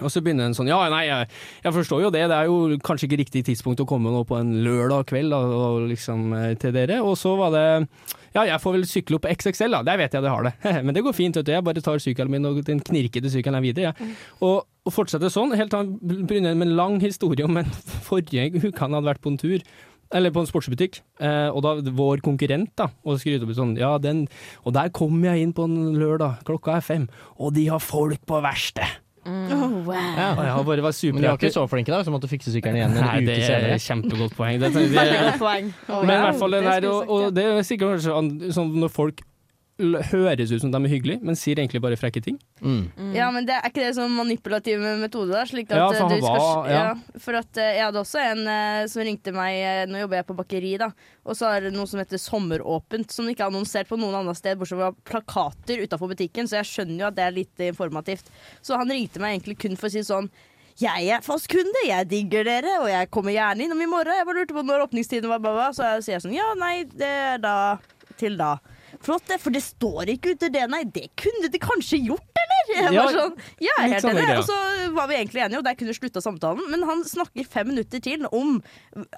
D: Og så begynner en sånn Ja, nei, jeg, jeg forstår jo det. Det er jo kanskje ikke riktig tidspunkt å komme nå på en lørdag kveld da, og liksom, eh, til dere. Og så var det Ja, jeg får vel sykle opp på XXL, da. Der vet jeg det har det. Men det går fint, vet du. Jeg bare tar sykkelen min og den knirkete sykkelen er videre, jeg. Og, og fortsetter sånn, helt til han begynner med en lang historie om en forrige uke han hadde vært på en tur. Eller på en sportsbutikk, eh, og da vår konkurrent, da, og skryter opp sånn Ja, den Og der kom jeg inn på en lørdag, klokka er fem, og de har folk på verkstedet!
F: Oh,
C: Ja.
D: Og jeg har bare vært
C: Men de var
D: superhappy.
C: ikke så flinke, da, som måtte fikse sykkelen igjen en
D: Nei,
C: uke
D: det er
C: senere.
D: et kjempegodt poeng. Det, det,
F: Veldig godt poeng.
D: men i hvert fall det der, og,
F: skulle jeg
D: og det er sikkert sånn, sånn når folk l- høres ut som de er hyggelige, men sier egentlig bare frekke ting.
C: Mm.
A: Ja, men det er ikke det sånn manipulativ metode der? Slik at
D: Ja,
A: eh,
D: for han
A: du skal,
D: var- ja.
A: For at eh, jeg hadde også en eh, som ringte meg eh, Nå jobber jeg på bakeri, da. Og så er det noe som heter Sommeråpent, som de ikke har annonsert på noen andre sted, bortsett fra plakater utafor butikken, så jeg skjønner jo at det er litt informativt. Så han ringte meg egentlig kun for å si sånn jeg er fast kunde, jeg digger dere, og jeg kommer gjerne innom i morgen. Jeg bare lurte på når åpningstiden var, bla, bla. så jeg sier sånn ja, nei, det er da til da. Flott, det, for det står ikke ute det, nei. Det kunne de kanskje gjort, eller? Jeg
D: Ja,
A: var sånn, ja, jeg er
D: litt
A: helt
D: samme
A: enig.
D: greia.
A: Og så var vi egentlig enige, og der kunne vi slutta samtalen. Men han snakker fem minutter til om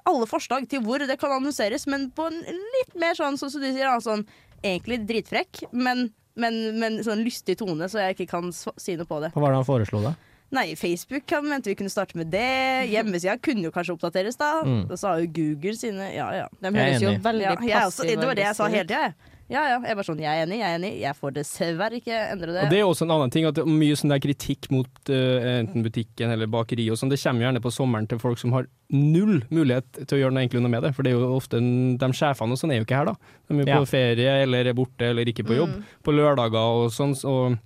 A: alle forslag til hvor det kan annonseres, men på en litt mer sånn, sånn som du sier, han sånn egentlig dritfrekk, men men, men sånn lystig tone, så jeg ikke kan sva- si noe på det.
C: Hva var det han foreslo, da?
A: Nei, Facebook kan- mente vi kunne starte med det. Hjemmesida kunne jo kanskje oppdateres, da.
C: Mm.
A: Og så har jo Google sine Ja, ja.
F: si. De
C: Jeg er
F: høres jo
C: enig.
A: ja
F: veldig
A: jeg er også,
F: passive
A: det var det jeg sa
F: aggressive
A: hele
F: ut.
A: tida, jeg. Ja, ja. Jeg er bare sånn, jeg er enig, jeg er enig. Jeg får dessverre ikke endre det.
D: Og det er også en annen ting, at det er mye sånn der kritikk mot eh, enten butikken eller bakeri og sånn, det kommer gjerne på sommeren til folk som har null mulighet til å gjøre noe egentlig noe med det, for det er jo ofte en, de sjefene og sånn er jo ikke her da. De er jo
C: Ja.
D: på ferie eller er borte eller ikke på
A: Mm.
D: jobb. På lørdager og sånn, og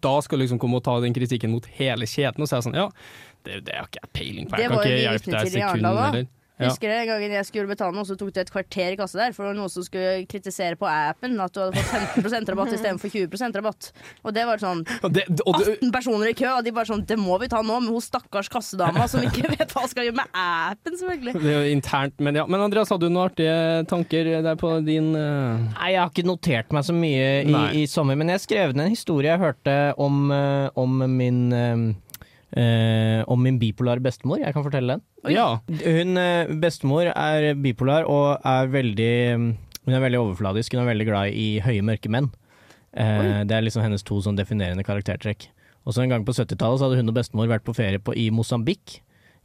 D: da skal du liksom komme og ta den kritikken mot hele kjeden og si sånn, ja, det, det har ikke jeg peiling på,
A: Det
D: jeg kan
A: var jo
D: ikke
A: vi
D: hjelpe
A: vitne
D: deg
A: til i
D: sekunden.
A: Arendal da.
D: eller- Ja.
A: Husker du en gang jeg skulle betale noe, så tok det et kvarter i kassa der, for det var noen som skulle kritisere på appen at du hadde fått 15 rabatt istedenfor 20 rabatt. Og det var sånn
D: Og det, og det,
A: 18 personer i kø, og de bare sånn Det må vi ta nå, med hun stakkars kassedama som ikke vet hva hun skal gjøre med appen, selvfølgelig.
D: Det er jo internt, men ja. Men Andreas, hadde du noen artige tanker der på din eh,
C: Nei, Jeg har ikke notert meg så mye i,
D: Nei.
C: i sommer, men jeg skrev ned en historie jeg hørte om, eh, om min eh, eh, om min bipolare bestemor. Jeg kan fortelle den.
D: Ja.
C: Hun eh, bestemor er bipolar og er veldig mm, Hun er veldig overfladisk. Hun er veldig glad i høye, mørke menn. Eh, det er liksom hennes to sånn definerende karaktertrekk. Og så En gang på 70-tallet så hadde hun og bestemor vært på ferie på, i Mosambik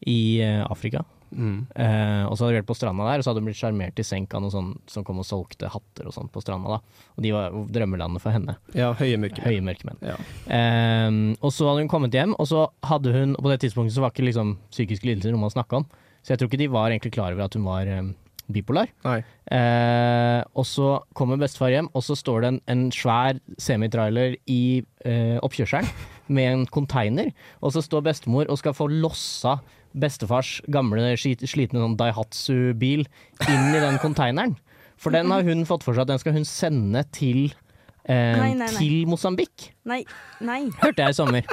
C: i eh, Afrika.
D: Mm.
C: Eh, og så hadde de vært på stranda der, og så hadde de blitt sjarmert i senk av noen sånn, som kom og solgte hatter og sånn på stranda. da. Og de var jo drømmelandet for henne.
D: ja høye mørke.
C: Høye mørkemenn.
D: Ja.
C: Eh, og så hadde hun kommet hjem, og så hadde hun Og på det tidspunktet så var ikke liksom psykiske lidelser noe man snakka om, så jeg tror ikke de var egentlig klar over at hun var eh, bipolar.
D: Nei.
C: Eh, og så kommer bestefar hjem, og så står det en, en svær semitrailer i eh, oppkjørselen med en container. Og så står bestemor og skal få lossa bestefars gamle, skit- slitne sånn Daihatsu-bil inn i den konteineren. For den har hun fått for seg at den skal hun sende til, eh,
A: Nei, nei, nei.
C: til Mosambik.
A: Nei. Nei.
C: Hørte jeg i sommer.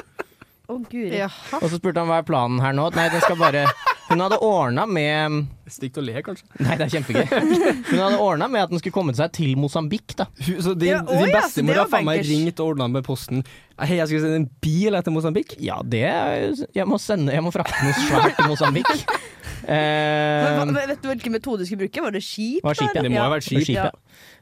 A: Å, guri.
F: Jaha.
C: Og så spurte han hva er planen her nå. Nei, den skal bare Hun hadde ordna med
D: Stygt å le, kanskje.
C: Nei, det er kjempegøy. Hun hadde ordna med at den skulle komme seg til Mosambik, da.
D: Så din,
A: Ja, oi,
D: din
A: ja, så det
D: bestemor har
A: var
D: faen meg
A: bankers.
D: ringt og ordna med posten. Hei, jeg skulle sende en bil etter Mosambik.
C: Ja, det er- Jeg må sende Jeg må frakte noe svært til Mosambik. Eh,
A: Men, hva- vet du hvilken metode du skulle bruke? Var det skip?
C: Var skip,
A: da,
C: ja.
A: eller?
D: Det må ha vært
C: skip,
D: skip.
C: ja.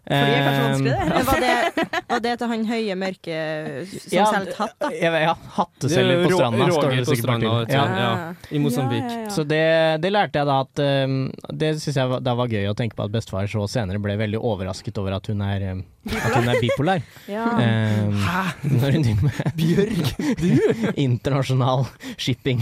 A: Fordi er kanskje vanskelig,
C: Eh,
A: det.
F: Men Var det, var det til han høye mørke som
C: Eh, ja,
F: solgte hatt, da?
C: jeg vet- Ja, hatteselger på
D: Rå-
C: stranda, står
D: Roger
C: det
D: på
C: sikkert bare
D: stranda,
C: til.
D: vet du.
C: Ja.
D: Ja. I Mosambik.
A: Ja, ja, ja.
C: Så det, det lærte jeg da at um, Det syns jeg var- da var gøy å tenke på at bestefar så senere ble veldig overrasket over at hun er, um, at hun er bipolar.
F: Ja.
C: Um, når hun driver med
D: Bjørg!
C: internasjonal shipping.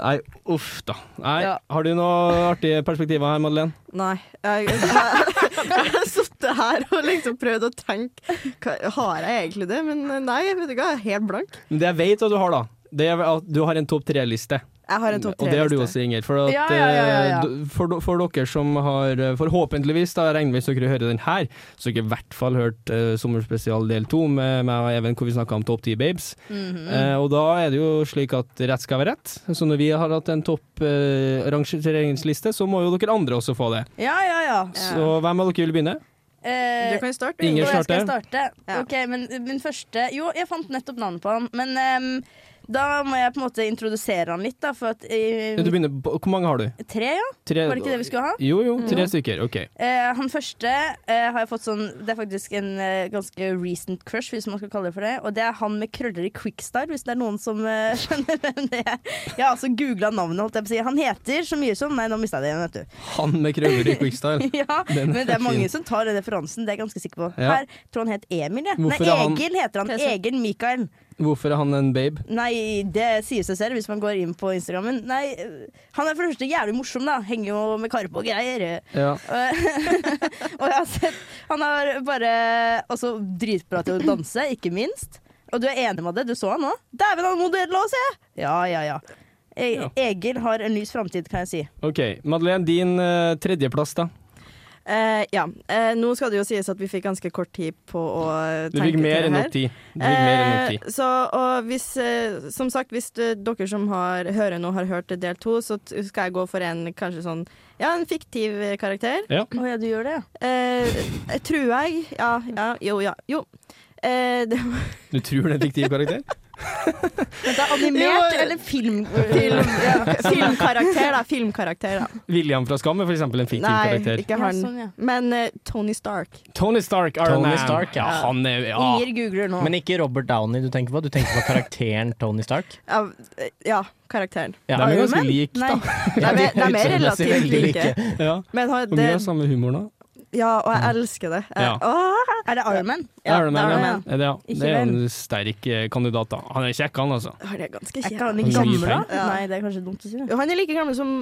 D: Nei, uff da. Nei,
F: Ja.
D: Har du noen artige perspektiver her, Madeleine?
F: Nei. Jeg, jeg, jeg har sittet her og liksom prøvd å tenke hva- Har jeg egentlig eh, det? Men nei, jeg vet ikke, jeg er helt blank.
D: Men Det jeg vet at du har, da, det er at du har en topp tre-liste.
F: Jeg har en topp
D: Mm, Og det har du
F: tre-liste.
D: også, Inger. For, at,
A: Ja, ja, ja, ja, ja.
D: eh, d- for, for dere som har eh, forhåpentligvis, da jeg regner med hvis dere hører den her, så har dere i hvert fall hørt eh, Sommerspesial del to med meg og Even, hvor vi snakka om Topp 10 babes.
A: Mhm. Mm.
D: Eh, og da er det jo slik at rett skal være rett. Så når vi har hatt en topp eh, rangeringsliste, så må jo dere andre også få det.
A: Ja, ja, ja.
D: Så hvem av dere vil begynne?
A: Eh,
F: Du kan jo starte.
D: Inger
A: Og jeg skal
D: starte.
A: starte.
F: Ja.
A: Ok, men min første Jo, jeg fant nettopp navnet på han, men ehm, da må jeg på en måte introdusere han litt, da, for at eh,
D: Du begynner, på- hvor mange har du?
A: Tre, ja?
D: Tre,
A: Var det ikke det vi skulle ha?
D: Jo, jo, tre stykker. OK.
A: Eh, han første eh, har jeg fått sånn Det er faktisk en eh, ganske recent crush, hvis man skal kalle det for det. Og det er han med krøller i Quickstar, hvis det er noen som eh, skjønner hvem det er. Jeg har altså googla navnet, holdt jeg på å si. Han heter så mye som Nei, nå mista jeg det igjen, vet du.
D: Han med krøller i quickstyle.
A: Ja,
D: Den
A: men det
D: er
A: er mange
D: fin.
A: som tar den referansen, det er jeg ganske sikker på.
D: Ja.
A: Her tror han het Emil, jeg. Nei,
D: Hvorfor er han-
A: Egil heter han.
F: Present.
A: Egil Mikael.
D: Hvorfor er han en babe?
A: Nei, det sier seg selv hvis man går inn på Instagrammen. Nei, øh, han er for det første jævlig morsom, da. Henger jo med Karpe og greier.
D: Ja.
A: Og jeg har sett Han har bare også dritbra til å danse, ikke minst. Og du er enig med det? Du så han nå? Dæven, han er modell òg, se! Ja, ja, ja. E
D: Ja.
A: Egil har en lys framtid, kan jeg si.
D: OK. Madeleine, din eh, tredjeplass, da.
F: Eh, ja. Eh, nå skal det jo sies at vi fikk ganske kort tid på å
D: Du
F: tenke
D: fikk
F: til
D: mer
F: det
D: enn
F: her.
D: nok ti. Du fikk mer enn nok ti.
F: Eh, så, og hvis, eh, som sagt, hvis eh, dere som har, hører nå har hørt del to, så t- skal jeg gå for en kanskje sånn Ja, en fiktiv eh, karakter.
A: Å ja, du gjør det, ja.
F: Eh, jeg tror jeg Ja, ja, jo, ja, jo. Eh, det var
D: Du tror det er en fiktiv karakter?
A: Men det er animert
F: Jo,
A: eller film...
F: film, ja, filmkarakter, da. Filmkarakter, da.
D: William fra Skam er for eksempel en fiktiv
F: Nei,
D: karakter.
F: ikke
A: Ja,
F: han.
A: sånn, ja.
F: Men eh, Tony Stark.
D: Tony Stark, Iron
C: Tony
D: Man.
C: Stark, ja.
D: han er ja.
A: Inger googler
F: Ah.
A: nå.
C: Men ikke Robert Downey du tenker på, du tenker på karakteren Tony Stark.
F: Ja, eh, ja karakteren.
D: De er jo ganske like,
F: De
D: da.
F: er, de er
C: Utseendemessig
F: relativt
C: veldig
F: like.
D: Ja.
F: Men han-
D: Og mye
F: det,
D: av samme humor nå.
F: ja, og jeg elsker det. Jeg,
D: Ja.
F: Åh!
A: Er det Iron Man?
F: Ja,
D: Iron Man,
F: Iron
D: ja.
F: Man.
D: Er det, ja.
A: Ikke
D: det er jo
A: vel.
D: en sterk eh, kandidat, da. Han er kjekk, han, altså.
F: Han er ganske
A: Er
F: kjekk.
A: ikke han
D: Han
A: litt
D: gir
A: gammel, da?
D: penger.
F: Ja.
A: Nei, det er kanskje dumt å si. det.
F: Jo, Han er like gammel som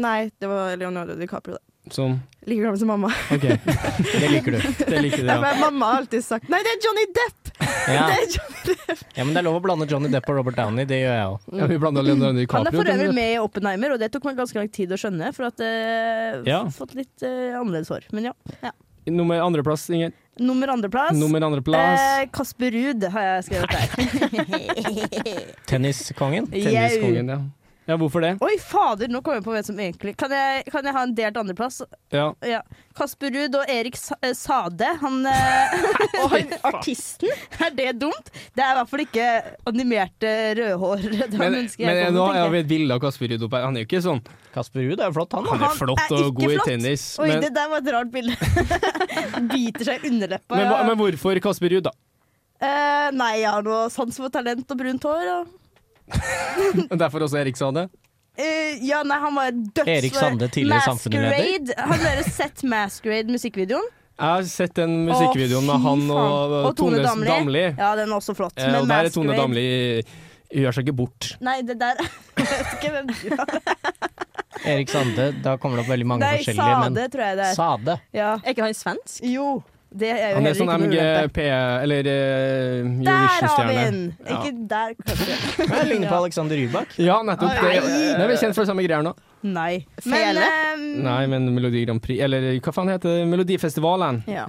F: Nei, det var Leonardo DiCaprio. Da.
D: Sånn.
F: Like gammel som mamma.
D: OK.
C: Det liker du.
D: Det liker du, ja.
F: Men mamma har alltid sagt Nei, det er Johnny Depp!
C: Ja.
F: Det er Johnny.
C: ja, men det er lov å blande Johnny Depp og Robert Downey, det gjør jeg òg.
D: ja vi blanda Leonardo
A: Han er
D: DiCaprio.
A: for
D: til
A: øvrig
D: det.
A: med i Oppenheimer, og det tok meg ganske lang tid å skjønne. For at eh,
D: Ja.
A: f- fått litt eh, annerledes hår. Men ja.
D: Nummer andreplass, Inger.
A: Nummer andreplass.
D: Nummer andreplass.
A: Eh, Kasper Ruud har jeg skrevet der.
C: Tenniskongen.
A: Jau.
D: Tenniskongen, ja. Ja, hvorfor det?
A: Oi, fader, nå kommer jeg på hvem som egentlig Kan jeg, kan jeg ha en delt andreplass?
D: Ja.
A: Ja. Kasper Ruud og Erik Sa eh, Sade, han eh, Og han artisten? Er det dumt? Det er i hvert fall ikke animerte rødhårede
D: Men,
A: mennesker.
D: men
A: jeg kommer til
D: nå
A: å
D: har
A: tenke.
D: vi et bilde av Kasper Ruud oppe her. Han er jo ikke sånn.
C: Kasper Ruud er jo flott, han.
D: Han er flott
A: er
D: og
A: ikke
D: god i
A: flott.
D: tennis.
A: Oi,
D: Men,
A: det der var et rart bilde. Biter seg i underleppa.
D: men, hva-
A: ja.
D: men hvorfor Kasper Ruud, da?
A: Eh, nei, jeg har noe sans for talent og brunt hår. Og...
D: Og Derfor også Erik sa det.
A: Eh, ja, nei, han var døds...
C: Erik Sande, tidligere
A: Masquerade. Har dere sett Masquerade-musikkvideoen?
D: Jeg har sett den musikkvideoen med
A: Å, fy
D: han og,
A: faen.
D: og Tone Damli.
A: Ja, den er også flott.
D: Eh, og der er Tone Damli gjør seg ikke bort.
A: Nei, det der Jeg vet ikke hvem du er.
C: Erik Sande. Da kommer det opp veldig mange
A: Nei,
C: forskjellige,
A: Sade,
C: men
A: tror jeg det er.
C: Sade.
A: Ja.
F: Er ikke han svensk?
A: Jo. Det er jo
D: Han er
A: heller
D: sånn
A: ikke noe ulempe.
D: MGP eller eh,
A: Der har vi
D: Eurovision-stjerne.
A: den! Ikke der, kanskje.
C: Jeg ligner på Alexander Rybak.
D: Ja, nettopp. Det,
A: Nei.
D: Nei, vi er kjent for samme greier nå.
A: Nei.
F: Fele?
A: Men, eh,
D: Nei, men Melodi Grand Prix Eller hva faen heter det? Melodifestivalen.
A: Ja.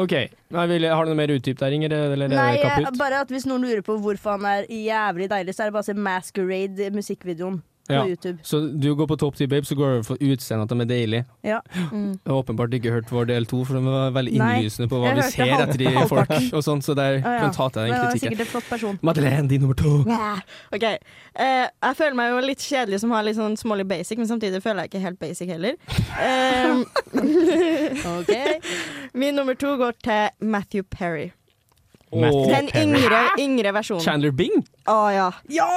D: OK. Nei, vil, har du noe mer utdyp der, Inger? Eller er
A: Nei, eh,
D: det kaputt?
A: bare at hvis noen lurer på hvorfor han er jævlig deilig, så er det bare å se Masquerade-musikkvideoen på
D: Ja.
A: YouTube.
D: Så du går på Top 10 Babe, så går du for utseendet at de er deilige.
A: Ja.
D: Jeg har åpenbart ikke hørt vår del to, for den var veldig
A: Nei,
D: innlysende på hva
A: jeg
D: vi
A: hørte
D: ser
A: halv-
D: etter i folk
A: halvparten.
D: og sånn, så
A: Å,
D: der
A: ja.
D: kan ta til
A: Men
D: den
A: han er
D: kritikken.
A: sikkert en flott person.
D: Madeleine, din nummer to.
F: OK. Eh, jeg føler meg jo litt kjedelig som har litt sånn smålig basic, men samtidig føler jeg ikke helt basic heller. Eh, min nummer to går til Matthew Perry.
D: Matthew
F: Den yngre, yngre versjonen.
D: Chandler Bing?
F: Å ja.
A: Ja!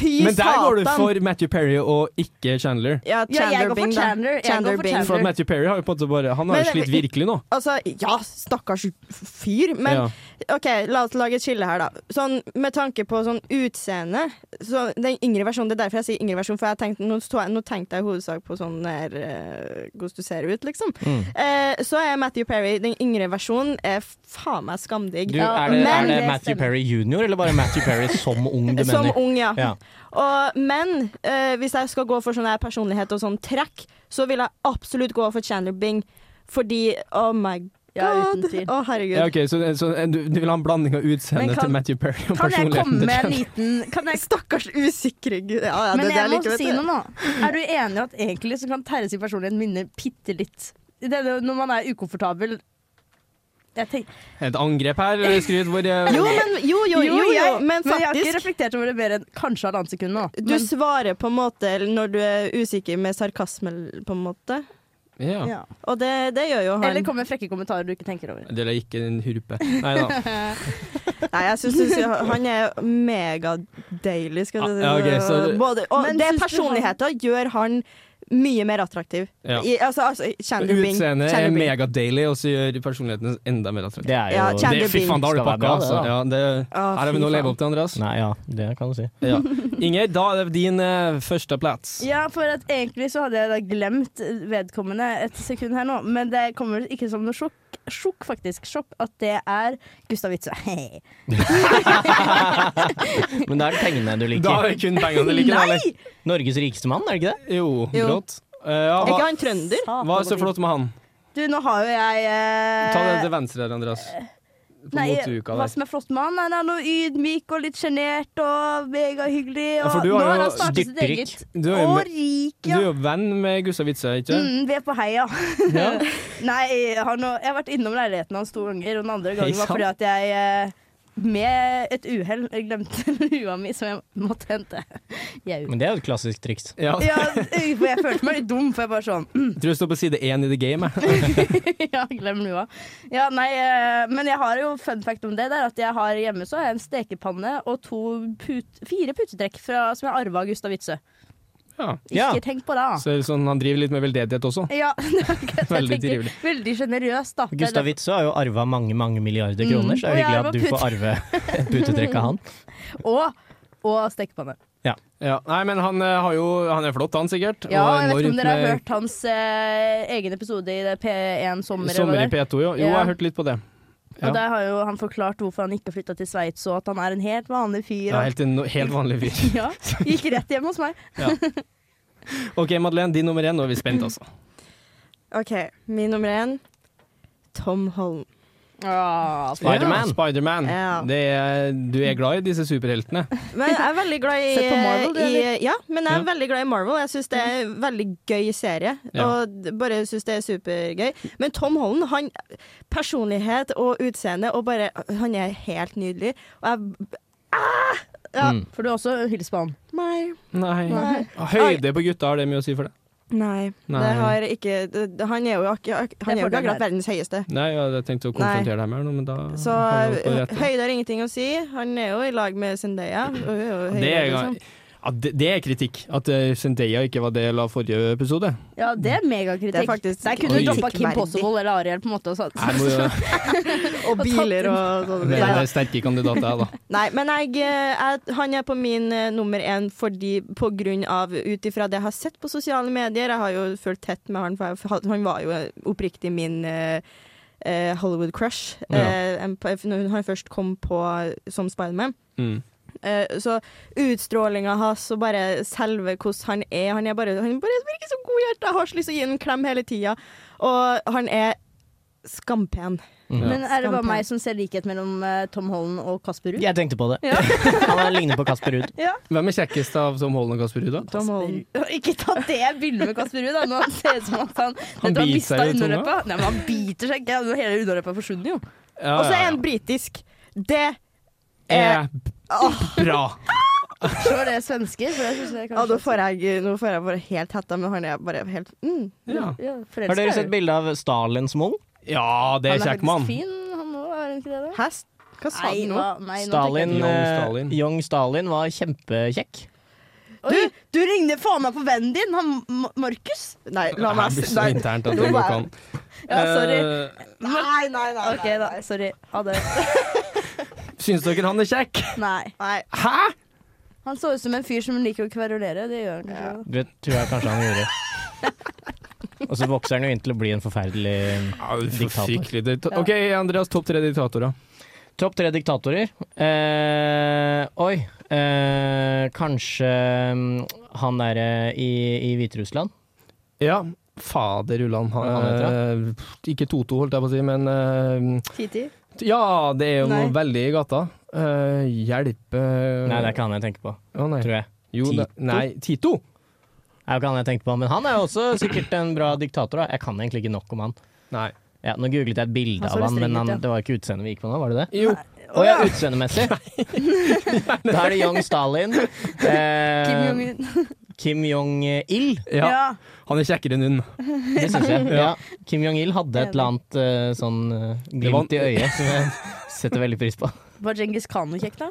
F: Fy
D: Men der går du
F: satan.
D: for Matthew Perry og ikke Chandler.
F: ja,
A: Ja, jeg går for
F: Bing, da.
A: Chandler. Jeg går for
F: Bing.
A: Chandler.
D: For at Matthew Perry har jo på en måte bare Han har
F: Men-
D: jo slitt virkelig nå.
F: Altså, ja, stakkars fyr, men
D: ja.
F: OK, la oss lage et skille her, da. Sånn, med tanke på sånn utseende så Den yngre versjonen, Det er derfor jeg sier yngre versjon, for jeg tenkte, nå, så jeg, nå tenkte jeg i hovedsak på sånn der eh, hvordan du ser ut, liksom.
C: Mm.
F: Eh, så er Matthew Perry den yngre versjonen. Er faen meg skamdigg.
C: Du,
A: Ja,
C: er, det,
F: men-
C: er det Matthew Perry jr., eller bare Matthew Perry som ung du
F: Som
C: mener?
F: ung, ja.
C: Ja.
F: Og, men eh, hvis jeg skal gå for sånn her personlighet og sånn trekk, så vil jeg absolutt gå for Chandler Bing. Fordi Oh my
A: Ja,
F: god.
A: uten
F: Å,
A: tvil.
F: herregud.
D: Ja, ok, så, så eh, du, du vil ha en blanding av
A: Men
D: utseendet
A: kan-
D: til Matthew Perry og
A: Kan jeg komme
D: personligheten
A: med en
D: til
A: liten kan jeg,
F: Stakkars usikre gud. Ja, ja,
A: Men
F: det, det
A: jeg
F: er
A: må
F: like, vet
A: si
F: du.
A: noe nå. Er du enig i at egentlig så kan Terje sin personlighet minne bitte litt? Det er jo når man er ukomfortabel jeg tenk-
D: Et angrep her, eller skryt hvor jeg
F: Jo, men, jo, jo, jo, jo, men
A: jeg har ikke
F: faktisk
A: reflektert over det mer enn kanskje halvannet sekund nå.
F: Du svarer på en måte eller når du er usikker med sarkasme, på en måte.
D: ja.
A: ja.
F: Og det, det gjør jo han.
A: Eller kom med frekke kommentarer du ikke tenker over.
D: Det er ikke en hurpe. Nei da.
F: Nei, jeg syns han er megadeilig, skal jeg si.
D: Ah, Ja, ok, så-
F: Både, og
A: Men
F: det
A: synes du
F: personligheten gjør han mye mer attraktiv.
D: Ja.
F: I, altså, altså Chandler Bing.
D: Utseendet
F: Chandler
D: er
F: Bing.
D: megadaily, og så gjør personligheten enda mer attraktiv.
C: Det er
F: Ja,
C: jo
F: Chandler
D: Det, fy
F: Bing
D: faen, da har du
C: skal være
D: pakka,
C: bra, det,
D: altså.
C: da.
D: Ja, det,
A: Ah,
F: Å,
D: her er vi
F: fy
D: noe å
F: faen.
D: leve opp til, Andreas.
C: Nei, ja, det kan du si.
D: Ja. Inger, da er det din eh, første plats.
A: Ja, for at egentlig så hadde jeg da glemt vedkommende et sekund her nå, men det kommer ikke som noe sjokk, sjokk faktisk, sjokk at det er Gustav Witzøe.
C: Men det er pengene du
D: Da
C: liker.
D: er det kun pengene du liker, eller?
A: Nei!
C: Norges rikeste mann, er det ikke det?
D: Jo,
F: Jo.
D: grått. Eh, ja,
F: Er ikke
D: hva,
F: han trønder?
D: hva er så flott med han?
A: Du, nå har jo jeg eh,
D: Ta det til venstre her, Andreas. På
A: Nei,
D: motuka
A: hva
D: der.
A: som er flott med han? Han er noe ydmyk og litt sjenert og megahyggelig.
D: Ja,
A: Og
D: for du
A: nå
D: har
A: har
D: jo
A: han startet sitt
C: dypprik.
A: eget.
D: Du er jo
A: Og
D: med-
A: rik,
D: Du
A: ja.
D: er jo venn med Gustav Witzøe, ikke
A: Mm, vi er på heia.
D: Ja.
A: Nei, han, og- jeg har vært innom leiligheten hans to ganger, og den andre gangen var
D: sant?
A: fordi at jeg eh, med et uhell glemte lua mi, som jeg måtte hente. Jau.
C: Men det er jo et klassisk triks.
D: Ja.
A: Ja, for jeg følte meg litt dum, for jeg bare sånn
D: Jeg tror jeg står på side én i The Game. Jeg.
A: Ja, glem lua. Ja, nei, eh, men jeg har jo fun fact om det der, at jeg har hjemme så har jeg en stekepanne og to put, fire putetrekk fra, som jeg arva av Gustav Witzøe.
D: Ja.
A: Ikke
C: Ja.
A: tenk på det, da.
D: Så er det sånn, han driver litt med veldedighet også.
A: Ja, det var ikke- jeg
D: Veldig
A: tenker,
D: trivelig.
A: Veldig sjenerøst, da. Det er
C: Gustav
A: derfor-
C: Witzøe har jo arva mange mange milliarder
A: Mm.
C: kroner, så det er
A: Og
C: jo
A: jeg
C: hyggelig
A: arva
C: at du får arve et putetrekk av han.
A: Og, og stekepanne.
D: Ja. Nei, men han, eh, har jo, han er flott, han sikkert.
A: Ja,
D: og
A: jeg vet ikke om
D: enormt
A: dere har
D: med-
A: hørt hans eh, egen episode i det P1 Sommer. eller hva
D: Sommer i
A: det er.
D: P2, jo. Jo,
A: Ja.
D: jeg har hørt litt på det.
A: Og Der har jo han forklart hvorfor han ikke flytta til Sveits, og at han er en helt vanlig fyr.
D: Ja,
A: og-
D: helt, en- helt vanlig fyr.
A: ja, Gikk rett hjem hos meg.
D: OK, Madeleine, din nummer én. Nå er vi spent, altså.
F: OK, min nummer én. Tom Holm.
A: Ah,
C: Spiderman.
D: Ja, Spiderman.
F: Ja.
D: Det er- Du er glad i disse superheltene.
F: Men jeg er veldig glad i,
A: Sett på Marvel, du,
F: i Ja, men jeg er
D: Ja.
F: veldig glad i Marvel. Jeg syns det er en veldig gøy serie.
D: Ja.
F: Og d- bare syns det er supergøy. Men Tom Holland, han Personlighet og utseende og bare Han er helt nydelig. Og jeg Ja.
C: Mm.
A: For du har også hilst på han.
F: Nei.
D: Nei.
F: Nei.
D: Høyde på gutta, har det mye å si for det?
F: Nei.
D: Nei.
F: Det har ikke det- Han er jo ikke Han er jo
A: fordelen
F: ikke akkurat
A: her.
F: verdens høyeste.
D: Nei, jeg hadde tenkt å konfrontere deg med det, men da
F: Så øh,
D: har jeg jo på rett.
F: høyde har ingenting å si. Han er jo i lag med Zendaya. og hun er jo
D: det
F: høyere,
D: er,
F: liksom.
D: ja, det, det er kritikk. At eh, Zendaya ikke var del av forrige episode.
A: Ja, det er megakritikk.
F: Det er faktisk-
A: Der kunne du
D: Oi.
A: droppa Kim
F: kritikkverdig.
A: Possible eller Ariel, på en måte. Og sånn.
D: Jeg må jo
F: Og biler og sånn.
D: være sterke kandidater, jeg, da.
F: Nei, men jeg, eh, jeg, han er på min eh, nummer én fordi, på grunn av Ut ifra det jeg har sett på sosiale medier. Jeg har jo fulgt tett med han, for jeg, han var jo oppriktig min eh, eh, Hollywood-crush
C: Ja.
F: eh, en- når han først kom på som Spiderman.
D: Mm.
F: Eh, så utstrålinga hans og bare selve hvordan han er Han, er bare, han bare virker så godhjerta. Jeg har så lyst til å gi ham en klem hele tida. Og han er skampen.
D: Ja.
A: Men er det bare
F: Skampen.
A: meg som ser likhet mellom eh, Tom Holland og Kasper Ruud?
C: Jeg tenkte på det.
A: Ja.
C: Han er ligner på Kasper Ruud.
D: Hvem er kjekkest av Tom Holland og Kasper Ruud, da?
F: Tom Holland.
A: Ikke ta det bildet med Kasper Ruud, da. Nå ser det ut som at han,
D: Han
A: Vet du,
D: biter seg i
A: mistet underleppa. Nei, men han biter seg ikke. Ja, Hele underleppa forsvunnet jo.
D: Ja,
F: Og så er
D: ja, ja.
F: han britisk. Det
D: Er eh, bra.
A: Så var det svensker. For jeg synes det er
F: Ja,
A: kanskje
F: nå får jeg, nå får jeg bare helt hetta, men han er bare helt mm.
D: Ja,
A: ja,
C: Har dere sett bilde av Stalin som ung?
D: ja det er kjekk mann.
A: Han er faktisk fin, han òg, er han ikke det? da?
F: Hest? Hva sa
A: Nei,
F: du nå?
A: hva- nei, nå tenker jeg-
C: Stalin,
D: Young
C: eh,
D: Stalin.
C: Young Stalin var kjempekjekk.
A: Du, du ligner faen meg på vennen din, han M- Markus. Nei, la
D: Det her
A: meg
D: blir
A: s-
D: så
A: Nei,
D: internt at
A: Nå
D: det går
A: bare-
D: ikke an.
A: Ja, sorry.
D: Eh,
F: Nei, nei, nei.
A: OK, da. Sorry. Ha det.
D: syns dere han er kjekk?
A: Nei.
D: Hæ?
A: Han så ut som en fyr som liker å kverulere. Det gjør han kanskje. da.
C: Det tror jeg kanskje han gjorde. Og så vokser han jo inn til å bli en forferdelig
D: Ja, det er for
C: Diktator.
D: fryktelig. Det- OK, Andreas, topp tre diktatorer.
C: Topp tre diktatorer. Eh, oi. Eh, kanskje mm, han derre i, i Hviterussland.
D: Ja, fader ullan. Han,
C: Hva
D: eh, ikke Toto, holdt jeg på å si, men eh,
A: Titi.
D: Ja, det er jo
A: Nei.
D: noe veldig i gata. Eh, hjelp eh,
C: Nei, det er ikke han jeg tenker på,
D: Å, nei.
C: tror jeg.
D: Jo,
C: Tito?
D: det- Nei, Tito!
C: Det er jo ikke han jeg tenkte på, men han er jo også sikkert en bra diktator. Da. Jeg kan egentlig ikke nok om han.
D: Nei.
C: Ja, nå googlet jeg et bilde
A: Han så
C: av han,
A: litt streng
C: men
A: ut,
C: han,
A: ja.
C: det var ikke utseendet vi gikk på nå, var det det?
D: Jo.
C: Å ja, utseendemessig! da er det Young Stalin. Eh,
A: Kim Jong-un.
C: Kim Jong-il,
D: Ja,
A: ja.
D: han er kjekkere enn hun.
C: det syns jeg. Ja. Kim Jong-il hadde et eller annet eh, sånn eh, glimt i øyet som jeg setter veldig pris på.
A: Var Djengis Khan noe kjekk, da?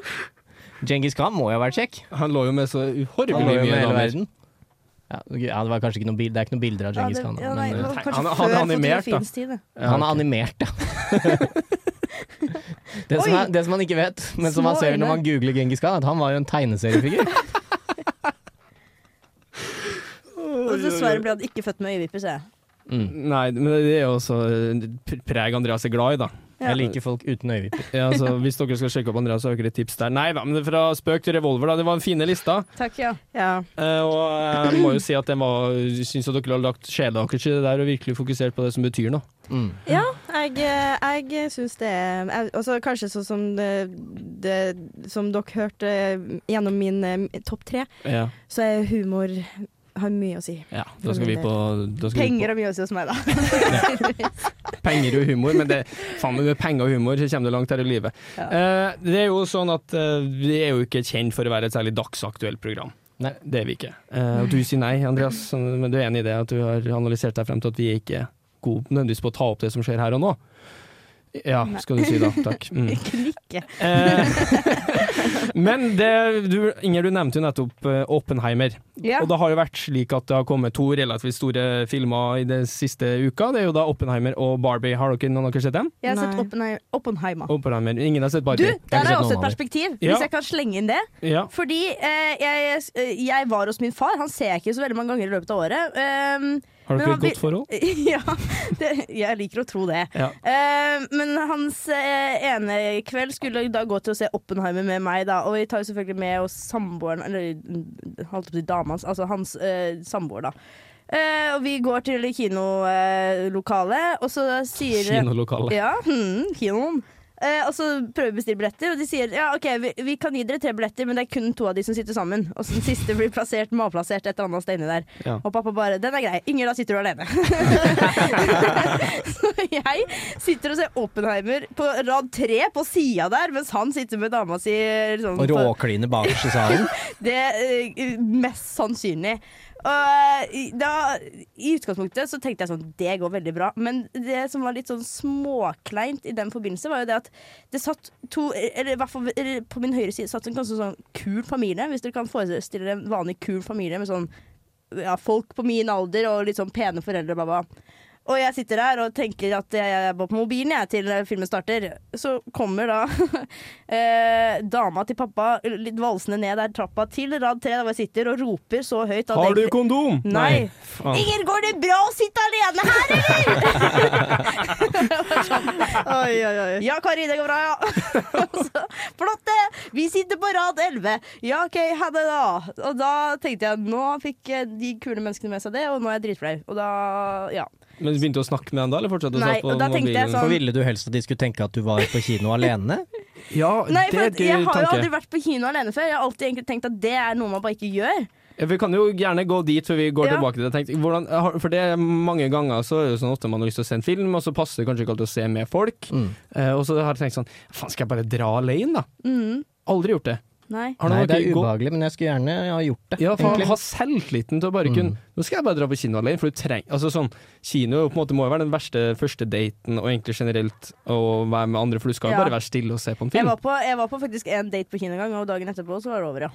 C: Djengis Khan må jo ha vært kjekk.
D: Han lå jo med så
C: Han
D: uhorvelig
C: var jo
D: mye
C: med hele
D: damer.
C: verden. Ja, ja, det var kanskje ikke noe bil, Det er ikke noen bilder av Djengis Khan.
A: ja,
C: men,
A: nei,
C: eh,
A: det var kanskje
D: han- han
A: før
D: animert, da.
A: fotografiens tid. det.
D: Ja,
C: han
D: ok.
C: er animert, ja. det, som
A: Oi!
C: er, det som man ikke vet, men som
A: Små
C: man ser
A: øyne.
C: når man googler Genghis Khan, at han var jo en tegneseriefigur.
A: Og dessverre ble han ikke født med øyevipper, ser jeg.
C: Mm.
D: Nei, men det er jo også pr- preg Andreas er glad i, da.
A: Ja.
C: Jeg liker folk uten øyevipper.
D: Ja, så hvis dere skal sjekke opp Andreas, så har dere et tips der. Nei da, men fra spøk til revolver, da. Det var en fine lista.
A: Takk, ja.
F: Ja.
D: Eh, og jeg må jo si at den var syns at dere har lagt sjela deres i det der og virkelig fokusert på det som betyr noe.
C: Mm.
F: Ja, jeg, eh, jeg syns det er jeg- altså Kanskje sånn som det, det Som dere hørte gjennom min eh, topp tre,
D: Ja.
F: så er humor har mye å si.
D: ja da skal vi på da skal
A: Penger har mye å si hos meg, da.
D: Vi på penger og humor, men det, faen med penger og humor, så kommer du langt her i livet. Eh, det er jo sånn at eh, vi er jo ikke kjent for å være et særlig dagsaktuelt program.
C: Nei.
D: Det er vi ikke. Eh, og du sier nei, Andreas, sånn, men du er enig i det at du har analysert deg frem til at vi er ikke gode nødvendigvis på å ta opp det som skjer her og nå? Ja, skal du si da. Takk. Mm.
A: Knikke.
D: Eh, Men det, du, Inger, du nevnte jo nettopp eh, Oppenheimer.
A: Ja.
D: Og det har jo vært slik at det har kommet to relativt store filmer i den siste uka. Det er jo da Oppenheimer og Barbie. Har dere noen av dere sett dem?
A: Jeg har sett
F: Nei.
A: Oppenhei- Oppenheimer.
D: Oppenheimer. Ingen har sett
A: Du,
D: Barbie.
A: der har
C: sett
A: jeg også
C: noen
A: et
C: av dem.
A: perspektiv,
D: Ja.
A: hvis jeg kan slenge inn det.
D: Ja.
A: Fordi eh, jeg, jeg var hos min far. Han ser jeg ikke så veldig mange ganger i løpet av året. Ehm,
D: Har
A: Men
D: dere
A: han
D: et
A: blir-
D: godt forhold?
A: ja, det, jeg liker å tro det.
D: Ja.
A: Eh, men hans eh, ene kveld skulle da gå til å se Oppenheimer med meg, da. Og vi tar jo selvfølgelig med oss samboeren, eller mm, holdt på å si dama hans, altså hans eh, samboer, da. Eh, og vi går til kinolokalet, eh, og så sier
D: Kinolokalet.
A: ja, hmm, kinoen. Eh, og så prøver vi å bestille billetter, og de sier ja, ok, vi, vi kan gi dere tre billetter, men det er kun to av de som sitter sammen. Og så den siste blir plassert, malplassert et eller annet sted inni der.
D: Ja.
A: Og pappa bare 'den er grei'. Inger, da sitter du alene. så jeg sitter og ser Oppenheimer på rad tre på sida der, mens han sitter med dama si sånn,
C: Og
A: på-
C: råkline bakerst i salen.
A: det eh, mest sannsynlig. Og eh, da, I utgangspunktet så tenkte jeg sånn Det går veldig bra. Men det som var litt sånn småkleint i den forbindelse, var jo det at det satt to Eller i hvert fall eller på min høyre side satt en ganske sånn kul familie. Hvis dere kan forestille dere en vanlig kul familie med sånn ja, folk på min alder og litt sånn pene foreldre. bla, bla. Og jeg sitter der og tenker at jeg er bare på mobilen jeg, til filmen starter. Så kommer da eh, dama til pappa litt valsende ned der trappa til rad tre, der hvor jeg sitter, og roper så høyt at
D: Har du
A: egentlig-
D: kondom?
A: Nei.
D: Faen.
A: Inger, går det bra å sitte alene her, eller?!
F: Oi, oi, oi.
A: ja, Kari, det går bra, ja. Og så, Flott, det! Vi sitter på rad 11. Ja, OK, ha det, da. Og da tenkte jeg nå fikk eh, de kule menneskene med seg det, og nå er jeg dritflau. Og da Ja.
D: Men du begynte å snakke med han da, eller fortsatte å
A: Nei,
D: snakke på
A: og da tenkte jeg
D: mobilen?
A: sånn-
C: For ville du helst at de skulle tenke at du var på kino alene?
D: Ja,
A: sånn- Nei,
D: det
A: for
D: er
A: at
D: et gøy
A: jeg har jo
D: tanke.
A: aldri vært på kino alene før. Jeg har alltid egentlig tenkt at det er noe man bare ikke gjør.
D: Ja, Vi kan jo gjerne gå dit før vi går
A: Ja.
D: tilbake til det. Tenk, hvordan, har- for det er mange ganger så er det jo sånn ofte man har lyst til å se en film, og så passer det kanskje ikke alltid å se med folk. Eh, og så har jeg tenkt sånn Faen, skal jeg bare dra alene, da?
A: Mm.
D: Aldri gjort det.
A: Nei.
D: Har
C: Nei,
D: noen
C: det
D: dere
C: er
D: gå-
C: ubehagelig, men jeg skulle gjerne ha gjort det.
D: Ja, Mm. for
C: egentlig.
D: ha selvtilliten til å bare kunne Nå skal jeg bare dra på kino alene, for du trenger Altså sånn, kino er jo på en måte må jo være den verste første daten, og egentlig generelt å være med andre, for du skal jo
A: Ja.
D: bare være stille og se på en
A: Jeg
D: film.
A: var på, jeg var på faktisk en date på kino en gang, og dagen etterpå så var det over, ja.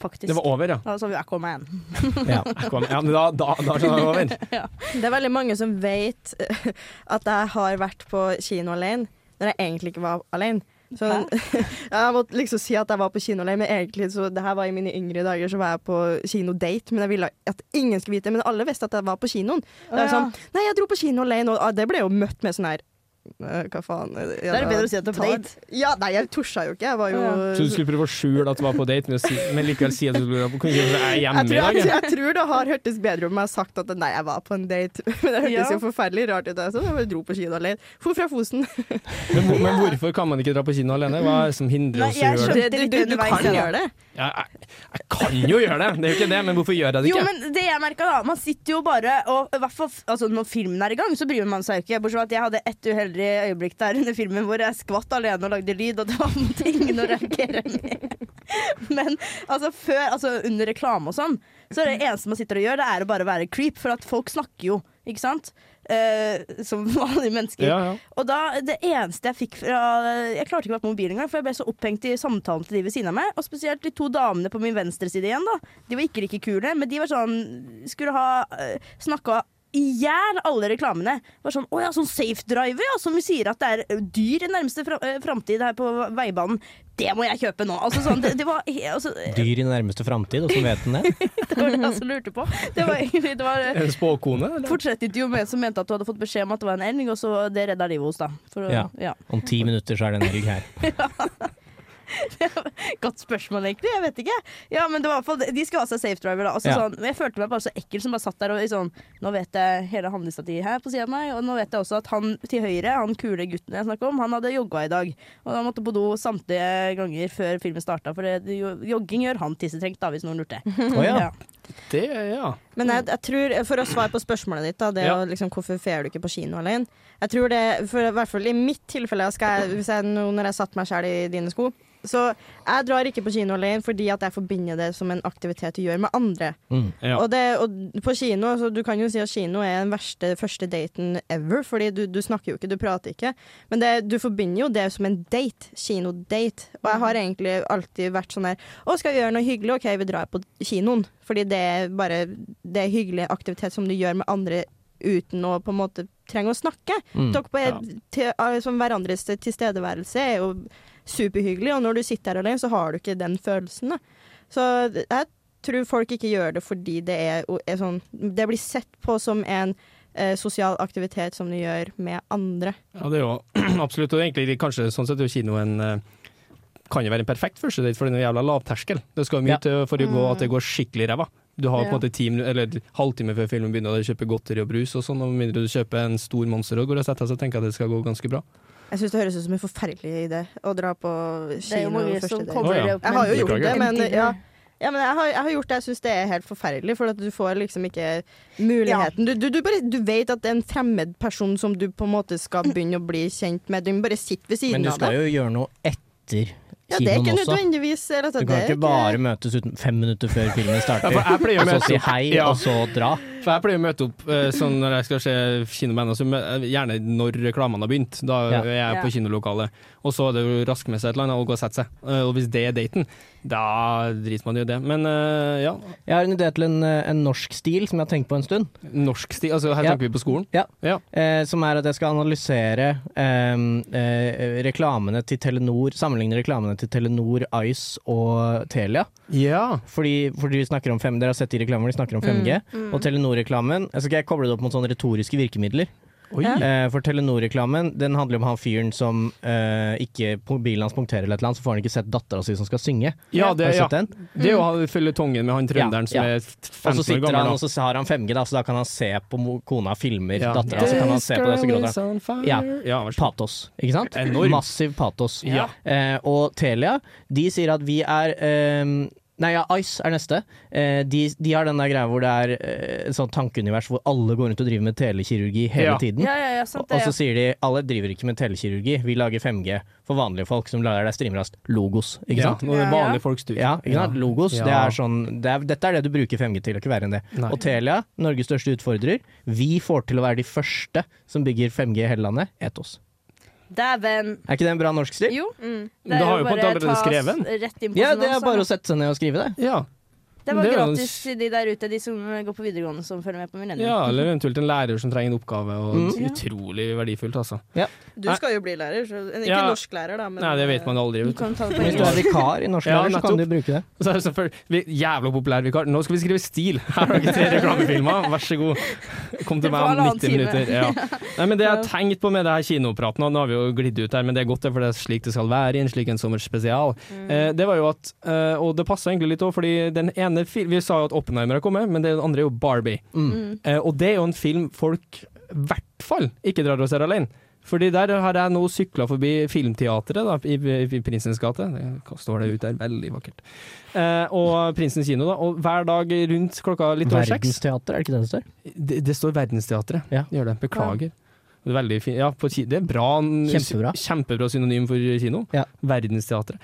A: faktisk.
D: Det var over, ja.
A: Da så vi Aquaman.
D: Ja, kom, ja men da, da, da skjønner jeg det var over.
F: Det er veldig mange som vet eh, at jeg har vært på kino alene, når jeg egentlig ikke var alene. Så, jeg måtte liksom si at jeg var på kino alene, men egentlig så det her var i mine yngre dager så var jeg på kinodate. Men jeg ville at ingen skulle vite det, men alle visste at jeg var på kinoen. Det
A: Å,
F: er
A: ja.
F: sånn, Nei, jeg dro på kino alene, og ah, det ble jo møtt med sånn her «Eh, Hva faen? Da
A: Da er det bedre å si at du var på
F: Ja, nei, jeg tusja jo ikke. Jeg var jo
A: Å,
D: Så du skulle prøve å skjule at du var på date, men, å si, men likevel si at du skulle kunne ikke si at jeg er hjemme
F: jeg tror,
D: i dag?
F: jeg,
D: jeg.
F: jeg tror det har hørtes bedre om jeg har sagt at nei, jeg var på en date. Men det hørtes
A: Ja.
F: jo forferdelig rart ut. da Jeg, så jeg bare dro på kino alene. For fra Fosen.
D: Men, hvor- men hvorfor kan man ikke dra på kino alene? Hva er det som hindrer
A: Nei,
D: oss i å
A: jeg
D: gjøre det?
A: skjønner- Det er litt underveis, ja, da.
F: det.
D: Ja, jeg, jeg kan jo gjøre det, det er jo ikke det, men hvorfor gjør jeg det
A: Jo,
D: ikke?
A: men det jeg merket da Man sitter jo bare og, i hvert fall, altså, Når filmen er i gang, så bryr man seg jo ikke. Bortsett fra at jeg hadde ett uheldig øyeblikk der under filmen hvor jeg skvatt alene og lagde lyd, og det var på en måte ingen å reagere med. Men altså, før, altså, under reklame og sånn, så er det eneste man sitter og gjør, det er å bare være creep, for at folk snakker jo, ikke sant? Eh, som vanlige mennesker.
D: Ja, ja.
A: Og da, det eneste jeg fikk fra Jeg klarte ikke å være på mobilen engang, for jeg ble så opphengt i samtalen til de ved siden av meg. Og spesielt de to damene på min venstre side igjen, da. De var ikke like kule, men de var sånn Skulle ha øh, snakka i hjel alle reklamene. Var sånn, Å ja, sånn safe driver, ja, som vi sier at det er øh, dyr i nærmeste fra, øh, framtid her på veibanen. Det må jeg kjøpe nå! Altså sånn, det, det var he- altså,
C: Dyr i nærmeste framtid, og så vet den det.
A: Det var det jeg også lurte på. Det var egentlig det var,
D: Er det en spåkone? Eller?
A: Fortsettet jo med som mente at du hadde fått beskjed om at det var en elg, og så det redda livet hos deg. For, å-
C: Ja.
A: Ja.
C: Om ti minutter så er det en rygg her.
A: Godt spørsmål, egentlig. Jeg vet ikke. Ja, men det var i hvert fall, De skulle ha seg safe driver. da altså,
C: Ja.
A: sånn, Jeg følte meg bare så ekkel som bare satt der og i sånn Nå vet jeg hele handlestativet her på sida av meg, og nå vet jeg også at han til høyre, han kule gutten jeg snakker om, han hadde jogga i dag. Og han måtte på do samtlige ganger før filmen starta, for det, jo, jogging gjør han tissetrengt, da, hvis noen lurte.
C: Å ja.
D: Det, ja.
F: Men jeg, jeg tror, for å svare på spørsmålet ditt, da, det
D: Ja.
F: å liksom, hvorfor fer du ikke på kino alene? Jeg tror det, for, I hvert fall i mitt tilfelle, skal jeg, hvis jeg, nå når jeg satte meg sjøl i dine sko Så jeg drar ikke på kino alene fordi at jeg forbinder det som en aktivitet du gjør med andre.
C: Mm.
D: Ja.
F: Og, det, og på kino, så du kan jo si at kino er den verste første daten ever, fordi du, du snakker jo ikke, du prater ikke. Men det, du forbinder jo det som en date. Kinodate. Og jeg har egentlig alltid vært sånn her Å, skal vi gjøre noe hyggelig? OK, vi drar på kinoen. Fordi det er bare det er hyggelig aktivitet som du gjør med andre uten å på en måte trenge å snakke.
C: Mm.
F: Dere på
D: Ja.
F: til, eh, som hverandres tilstedeværelse er jo superhyggelig, og når du sitter her alene, så har du ikke den følelsen. Da. Så jeg tror folk ikke gjør det fordi det er, er sånn Det blir sett på som en eh, sosial aktivitet som du gjør med andre.
D: Ja, det er jo absolutt. Og egentlig kanskje sånn sett er jo kino en eh, kan jo være en perfekt første date, for den er jo jævla lavterskel. Det skal jo mye
C: Ja. Mm.
D: til for å gå, at det går skikkelig ræva. Du har på en
A: Ja.
D: måte ti minu- eller halvtime før filmen begynner, og du kjøper godteri og brus og sånn, og med mindre du kjøper en stor monster og går og setter deg, så tenker jeg at det skal gå ganske bra.
F: Jeg syns det høres ut som en forferdelig idé å dra på
A: Det er jo
F: kino
A: mange
F: første
A: som
F: date.
A: kommer
D: Å, ja.
A: opp
F: Jeg har jo
A: med-
F: gjort det,
D: Beklager.
F: men ja. Ja, men jeg har, jeg har gjort det. Jeg syns det er helt forferdelig. For at du får liksom ikke muligheten. Du, du, du, bare, du vet at det er en fremmed person som du på en måte skal begynne å bli kjent med. Du må bare sitte ved
C: Men
F: siden
C: du
F: av
C: skal
F: deg.
C: jo gjøre noe etter
F: Ja, det er ikke
C: kinoen også.
F: nødvendigvis eller at
C: Du
F: det
C: kan
F: er
C: ikke bare møtes uten fem minutter før filmen starter,
D: for jeg pleier å
C: og så
D: møte
C: si
D: opp.
C: hei, altså.
D: Ja.
C: og så dra.
D: For jeg pleier å møte opp eh, sånn når jeg skal se kino med henne, så mø- eh, gjerne når reklamene har begynt. Da
C: Ja.
D: er jeg på
A: Ja.
D: kinolokalet. Og så er det jo rask med seg et eller annet og gå og sette seg. Eh, Og hvis det er daten, da driter man i det. Men eh, ja,
C: Jeg har en idé til en, eh, en norsk stil som jeg har tenkt på en stund.
D: norsk stil. Altså, her
C: Ja.
D: tenker vi på skolen.
C: Ja.
D: Ja.
C: Eh, som er at jeg skal analysere eh, eh, reklamene til Telenor, sammenligne reklamene til Telenor, Ice og Telia.
D: ja.
C: Fordi, fordi vi snakker om fem, Dere har sett de reklamene hvor de snakker om 5G.
D: Mm,
C: Og Telenor-reklamen eh, Så skal jeg koble det opp mot sånne retoriske virkemidler.
D: Oi.
C: Eh, for Telenor-reklamen Den handler om han fyren som eh, ikke bilen hans punkterer, eller et eller annet, så får han ikke sett dattera si som skal synge.
D: Ja, det,
C: Har du
D: ja.
C: sett den?
D: det er jo han føljetongen med han trønderen som
C: Ja, ja.
D: er
C: Og
D: 15
C: så
D: år
C: sitter han,
D: gammel.
C: og så har han 5G, da, så da kan han se på mo- kona filmer
D: Ja.
C: dattera, så kan han se på det, så gråter han.
D: han.
C: Ja.
D: Ja, ja vær så god.
C: Patos, ikke sant?
D: Enormt.
C: Massiv patos.
D: Ja.
C: Eh, og Telia, de sier at vi er ehm, Nei, ja, Ice er neste. Eh, de, de har den der greia hvor det er eh, et sånt tankeunivers hvor alle går rundt og driver med telekirurgi hele
D: Ja.
C: tiden.
A: Ja, ja, ja, sant
C: og
A: det.
C: så sier de alle driver ikke med telekirurgi, vi lager 5G for vanlige folk som lager deg streamrast logos, ikke
D: Ja,
C: sant?
D: nå er det
A: Ja, ja.
D: vanlige folks tur.
C: Ja, ikke sant? Logos,
D: Ja.
C: det er sånn det er, Dette er det du bruker 5G til, ikke verre enn det.
D: Nei.
C: Og Telia, Norges største utfordrer, vi får til å være de første som bygger 5G i hele landet. Et oss.
A: Dæven.
C: Er ikke det en bra norsk stil?
A: Jo.
F: Mm.
A: Det
D: Du
A: er
D: har
A: jo
D: jo på en måte
A: bare
D: allerede skrevet den.
A: rett inn på
C: Ja,
A: sånn
C: det er
A: også.
C: bare å sette seg ned og skrive det.
D: Ja.
A: Det var
D: det er jo en
A: gratis til de der ute, de som går på videregående som følger med på Millennium.
D: ja, eller eventuelt en lærer som trenger en oppgave. Og
C: Mm.
D: Utrolig verdifullt, altså.
F: Du skal jo bli lærer, så Ikke
D: Ja.
F: norsklærer, da, men
D: Nei, det vet man aldri.
A: Du
D: Vet. du.
A: kan ta det på
C: Hvis du er
A: engelsk.
C: vikar i norsk
D: Ja,
C: lærer, så kan du
D: nettopp.
C: bruke det.
D: Så er det selvfølgelig vi- Jævla populær vikar. Nå skal vi skrive stil! Her har dere tre reklamefilmer, vær så god. Kom
A: Det
D: til meg
A: var
D: om
A: halvannen
D: 90
A: time.
D: minutter. Ja. Nei, men det jeg tenkte på med det her kinopraten, og nå har vi jo glidd ut her, men det er godt, det, for det er slik det skal være i en slik en sommerspesial,
A: Mm.
D: eh, det var jo at eh, Og det passa egentlig litt òg, fordi den ene fil Vi sa jo at Oppenheimer har kommet, men den andre er jo Barbie.
C: Mm.
A: Mm.
D: Eh, og det er jo en film folk i hvert fall ikke drar og ser alene. Fordi der har jeg nå sykla forbi Filmteatret da, i, i Prinsens gate. Det står det ute der, veldig vakkert. Eh, og Prinsens kino, da. Og hver dag rundt klokka litt over seks
C: Verdensteater, er det ikke det det står?
D: Det, det står Verdensteatret.
C: Ja.
D: Gjør det. Beklager. Det er Veldig fin. Ja, på, ki- det er bra,
C: Kjempebra.
D: kjempebra synonym for kino.
C: Ja.
D: Verdensteatret.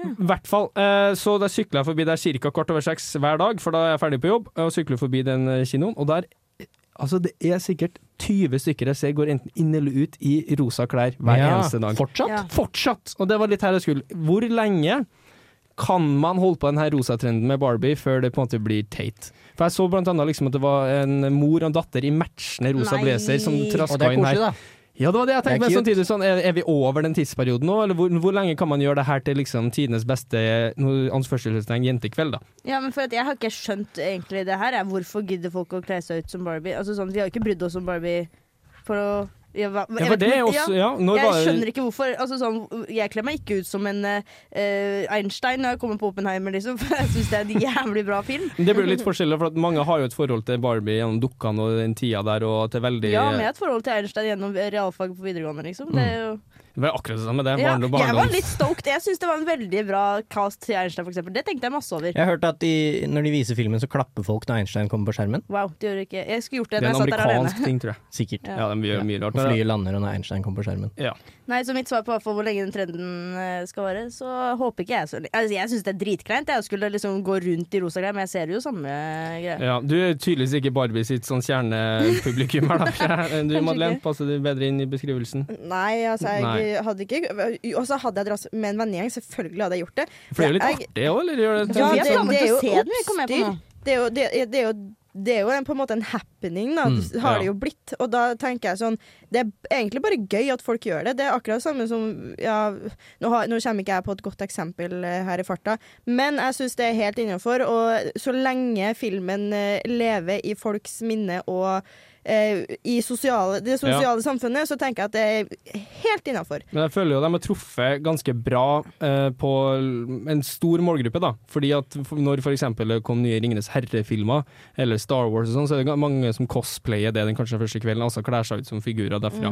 D: I hvert fall. eh, Så da sykler jeg forbi der ca. kvart over seks hver dag, for da er jeg ferdig på jobb. Og sykler forbi den eh, kinoen. Og der Altså, det er sikkert 20 stykker jeg ser går enten inn eller ut i rosa klær hver
C: Ja,
D: eneste dag.
C: Fortsatt?
A: Ja.
D: Fortsatt! Og det var litt her jeg skulle. Hvor lenge kan man holde på den her rosa trenden med Barbie før det på en måte blir teit? For jeg så blant annet liksom at det var en mor og en datter i matchende rosa
A: Nei.
D: blazer som
A: Og det er
C: Og det
D: traska
C: er
D: inn
C: koselig,
D: her.
C: da.
D: Ja, det var det jeg tenkte,
C: Det
D: men
C: er cute.
D: samtidig sånn, er, er vi over den tidsperioden nå? Eller hvor, hvor lenge kan man gjøre det her til liksom tidenes beste no, anførselstegn jentekveld, da?
A: Ja, men for at jeg har ikke skjønt egentlig det her. Er hvorfor gidder folk å kle seg ut som Barbie? Altså sånn, Vi har jo ikke brydd oss om Barbie for å jeg, hva-
D: Ja,
A: jeg
D: for
A: vet
D: det er
A: ikke-
D: også,
A: ja.
D: ja, når
A: Jeg
D: var-
A: skjønner ikke hvorfor. Altså sånn, jeg kler meg ikke ut som en eh, eh, Einstein når jeg kommer på Oppenheimer, liksom. For jeg syns det er en jævlig bra film.
D: Men Det blir jo litt forskjellig, for at mange har jo et forhold til Barbie gjennom dukkene og den tida der, og at det er veldig
A: Ja, med et forhold til Einstein gjennom realfag på videregående, liksom. Det er jo
D: Det var akkurat det samme, Mm. det.
A: Ja,
D: barn-
A: jeg
D: og
A: var
D: barndoms-
A: litt stoked. Jeg syns det var en veldig bra cast til Einstein, for eksempel. Det tenkte jeg masse over.
C: Jeg har hørt at de, når de viser filmen, så klapper folk når Einstein kommer på skjermen.
A: Wow, det gjorde ikke Jeg skulle gjort det
D: Det er
A: når
D: en
A: jeg satt der alene.
D: amerikansk ting, tror jeg.
C: Sikkert.
A: Ja.
D: Ja, de gjør mye rart.
C: Og flyet lander, og når Einstein kommer på skjermen.
D: Ja.
A: Nei, så mitt svar på hvert fall hvor lenge den trenden eh, skal vare, så håper ikke jeg så lenge. Altså, jeg syns det er dritkleint jeg skulle liksom gå rundt i rosa greier, men jeg ser jo samme greie.
D: Ja, du er tydeligvis ikke Barbie sitt sånn kjernepublikum her, da. Du,
A: Kanskje
D: Madeleine,
A: ikke.
D: passer du bedre inn i beskrivelsen?
F: Nei, altså jeg
D: Nei.
F: hadde ikke Og så hadde jeg dratt med en vennegjeng, selvfølgelig hadde jeg gjort det.
D: For det er jo litt
F: Jeg-
D: artig òg, eller? Gjør det,
A: Ja,
F: Ja,
A: vi er
F: det-
A: framme
F: det er
A: til å
F: jo
A: se den, vi kommer jeg på nå.
F: oppstyr. Det er jo, det, er- det er jo det er jo en, på en måte en happening, da.
C: Mm,
F: har
D: ja.
F: det jo blitt. Og da tenker jeg sånn Det er egentlig bare gøy at folk gjør det. Det er akkurat det samme som ja, nå, har, nå kommer ikke jeg på et godt eksempel eh, her i farta, men jeg syns det er helt innafor. Og så lenge filmen eh, lever i folks minne og eh, i sosiale, det sosiale samfunnet, så tenker jeg at det er helt innafor.
D: Men jeg føler jo de har truffet ganske bra eh, på en stor målgruppe, da. Fordi at f- når f.eks. det kom nye Ringenes herre-filmer, eller Star Wars og sånn, så er det ga- mange som cosplayer det den kanskje første kvelden, altså klær seg ut som figurer
A: Mm,
D: derfra.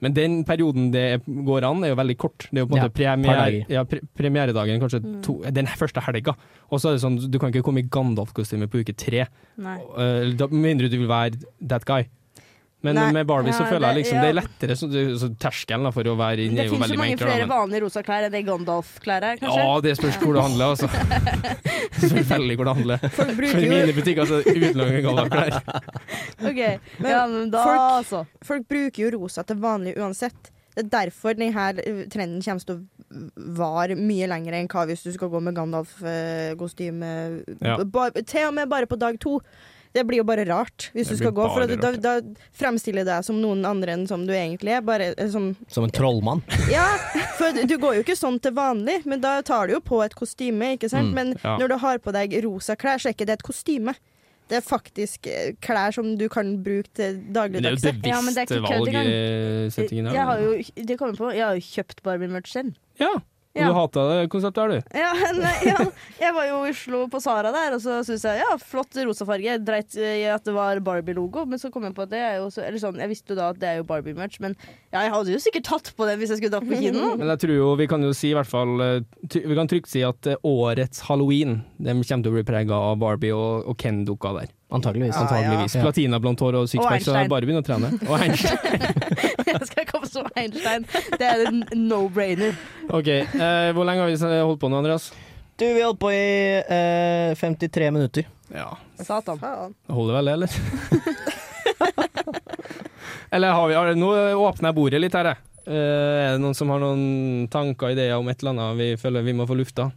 D: Men den perioden det er- går an, er jo veldig kort. Det er jo på en
C: Ja,
D: måte premier,
C: dager.
D: ja, pre premieredagen, kanskje
A: Mm.
D: to, den første helga. Og så er det sånn, du kan ikke komme i Gandalf-kostyme på uke tre.
A: Nei.
D: Eh, da- Med mindre du vil være that guy. Men
F: Nei.
D: med Barbie så
A: Ja,
D: føler jeg
A: det-
D: liksom det er lettere, så, så terskelen da, for å være
A: Men
D: inne
A: Det
D: er jo
A: finnes
D: veldig
A: jo mange
D: enkel, da,
A: flere
D: men-
A: vanlige rosa klær enn det Gandalf-klær er, kanskje.
D: Ja, det spørs hvor det handler, altså. Spørs veldig hvor det handler.
F: Folk
D: For
F: bruker
D: i
F: jo
D: mine butikker så er det utelukkende Gandalf-klær.
A: Ok,
F: Men
A: ja, men da
F: folk-
A: altså.
F: Folk bruker jo rosa til vanlig uansett. Det er derfor denne trenden kommer til å vare mye lenger enn hva hvis du skal gå med eh, Gandalf-kostyme.
D: Ja.
F: Til og med bare på dag to. Det blir jo bare rart hvis du
D: Det
F: skal
D: blir
F: gå, for
D: bare
F: at da, da fremstiller deg som noen andre enn som du egentlig er. Bare eh, som
C: Som en trollmann.
F: Ja, for du går jo ikke sånn til vanlig, men da tar du jo på et kostyme, ikke sant?
C: Mm,
F: Men
D: ja.
F: når du har på deg rosa klær, så er ikke det et kostyme. Det er faktisk eh, klær som du kan bruke til
D: Men Det er jo
F: dagligdagse.
D: et
A: Ja, men det er
D: bevisst
A: ikke
D: valg
A: kødd
D: i settingen
A: Jeg har
D: her.
A: jo, det kommer jeg på, jeg har jo kjøpt Barbie-merch selv.
D: Ja. Og
A: Ja.
D: du hata det konseptet her, du.
A: Ja, nei, ja, jeg var jo i Oslo på Sara der, og så syntes jeg ja, flott rosa farge. Dreit i at det var Barbie-logo, men så kom jeg på at det er jo så, Eller sånn, jeg visste jo da at det er jo Barbie-merch, men ja, jeg hadde jo sikkert tatt på den hvis jeg skulle dratt på kino.
D: Men jeg tror jo, vi kan jo si i hvert fall eh, ty- Vi kan trygt si at eh, årets halloween De kommer til å bli prega av Barbie og, og Ken-dukka der.
C: Antageligvis.
D: Antageligvis.
C: Ja.
D: Platina blondt hår og
A: Og
D: sixpack, så
A: Einstein.
D: det er bare å begynne å trene. Og Einstein.
A: Jeg skal komme som Einstein. Det er en no-brainer.
D: Ok, eh, Hvor lenge har vi eh, holdt på nå, Andreas?
C: Du, vi holdt på i eh, 53 minutter.
D: Ja.
A: Satan.
F: Faen.
D: Holder vel det, eller? eller har vi, har, nå åpner jeg bordet litt her, jeg. Eh, er det noen som har noen tanker og ideer om et eller annet vi føler vi må få lufta?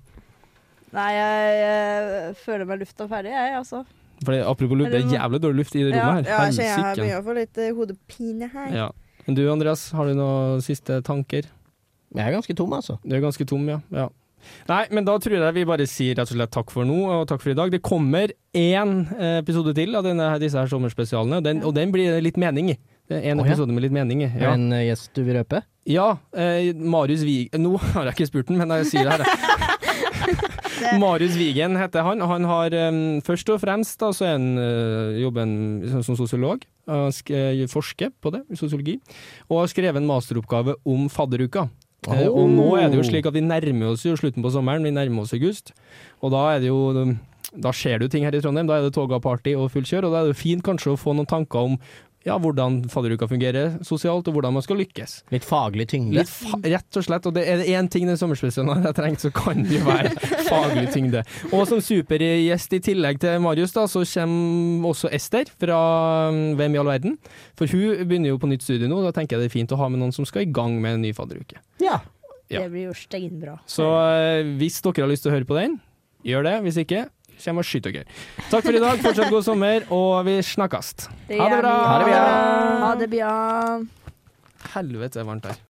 A: Nei, jeg, eh, føler meg lufta ferdig, jeg, altså.
D: Fordi, apropos luft, det er jævlig dårlig luft i det
A: Ja, altså,
D: rommet her.
B: Ja, jeg kjenner jeg her
D: Helsike.
B: begynner å få litt eh, hodepine her.
D: Ja. Men du Andreas, har du noen siste tanker?
C: Jeg er ganske tom, altså.
D: Du er ganske tom, ja. ja. Nei, men da tror jeg vi bare sier rett og slett takk for nå, og takk for i dag. Det kommer én eh, episode til av denne, disse her sommerspesialene, og den, og den blir det litt mening i. Det er en
C: Å, ja.
D: episode med litt mening i.
C: Er
D: Ja,
C: det en eh, gjest du vil røpe?
D: ja eh, Marius Vig... Nå har jeg ikke spurt den, men jeg sier det her. jeg. Marius Vigen heter han. og Han har eh, først og fremst da, så er han, eh, jobber han som- som sosiolog. Han sk- eh, forsker på det, i sosiologi. Og har skrevet en masteroppgave om fadderuka. Eh, Og nå er det jo slik at vi nærmer oss jo slutten på sommeren, vi nærmer oss august. Og da er det jo Da skjer det jo ting her i Trondheim. Da er det toga-party og fullt kjør, og da er det jo fint kanskje å få noen tanker om ja, hvordan fadderuka fungerer sosialt, og hvordan man skal lykkes.
C: Litt faglig tyngde.
D: Litt fa rett og slett, og det er det én ting den sommerspesialen har jeg trengt, så kan det jo være faglig tyngde. Og som supergjest i tillegg til Marius, da, så kommer også Ester fra mm, Hvem i all verden? For hun begynner jo på nytt studie nå, og da tenker jeg det er fint å ha med noen som skal i gang med en ny fadderuke.
C: Ja.
D: Ja.
A: Det blir jo steinbra.
D: Så eh, hvis dere har lyst til å høre på den, gjør det. Hvis ikke, kommer og skyter dere. Takk for i dag, fortsatt god sommer, og vi snakkes. Ha det bra!
A: Ha det bra. Ha det bra.
D: Helvete, det er varmt her.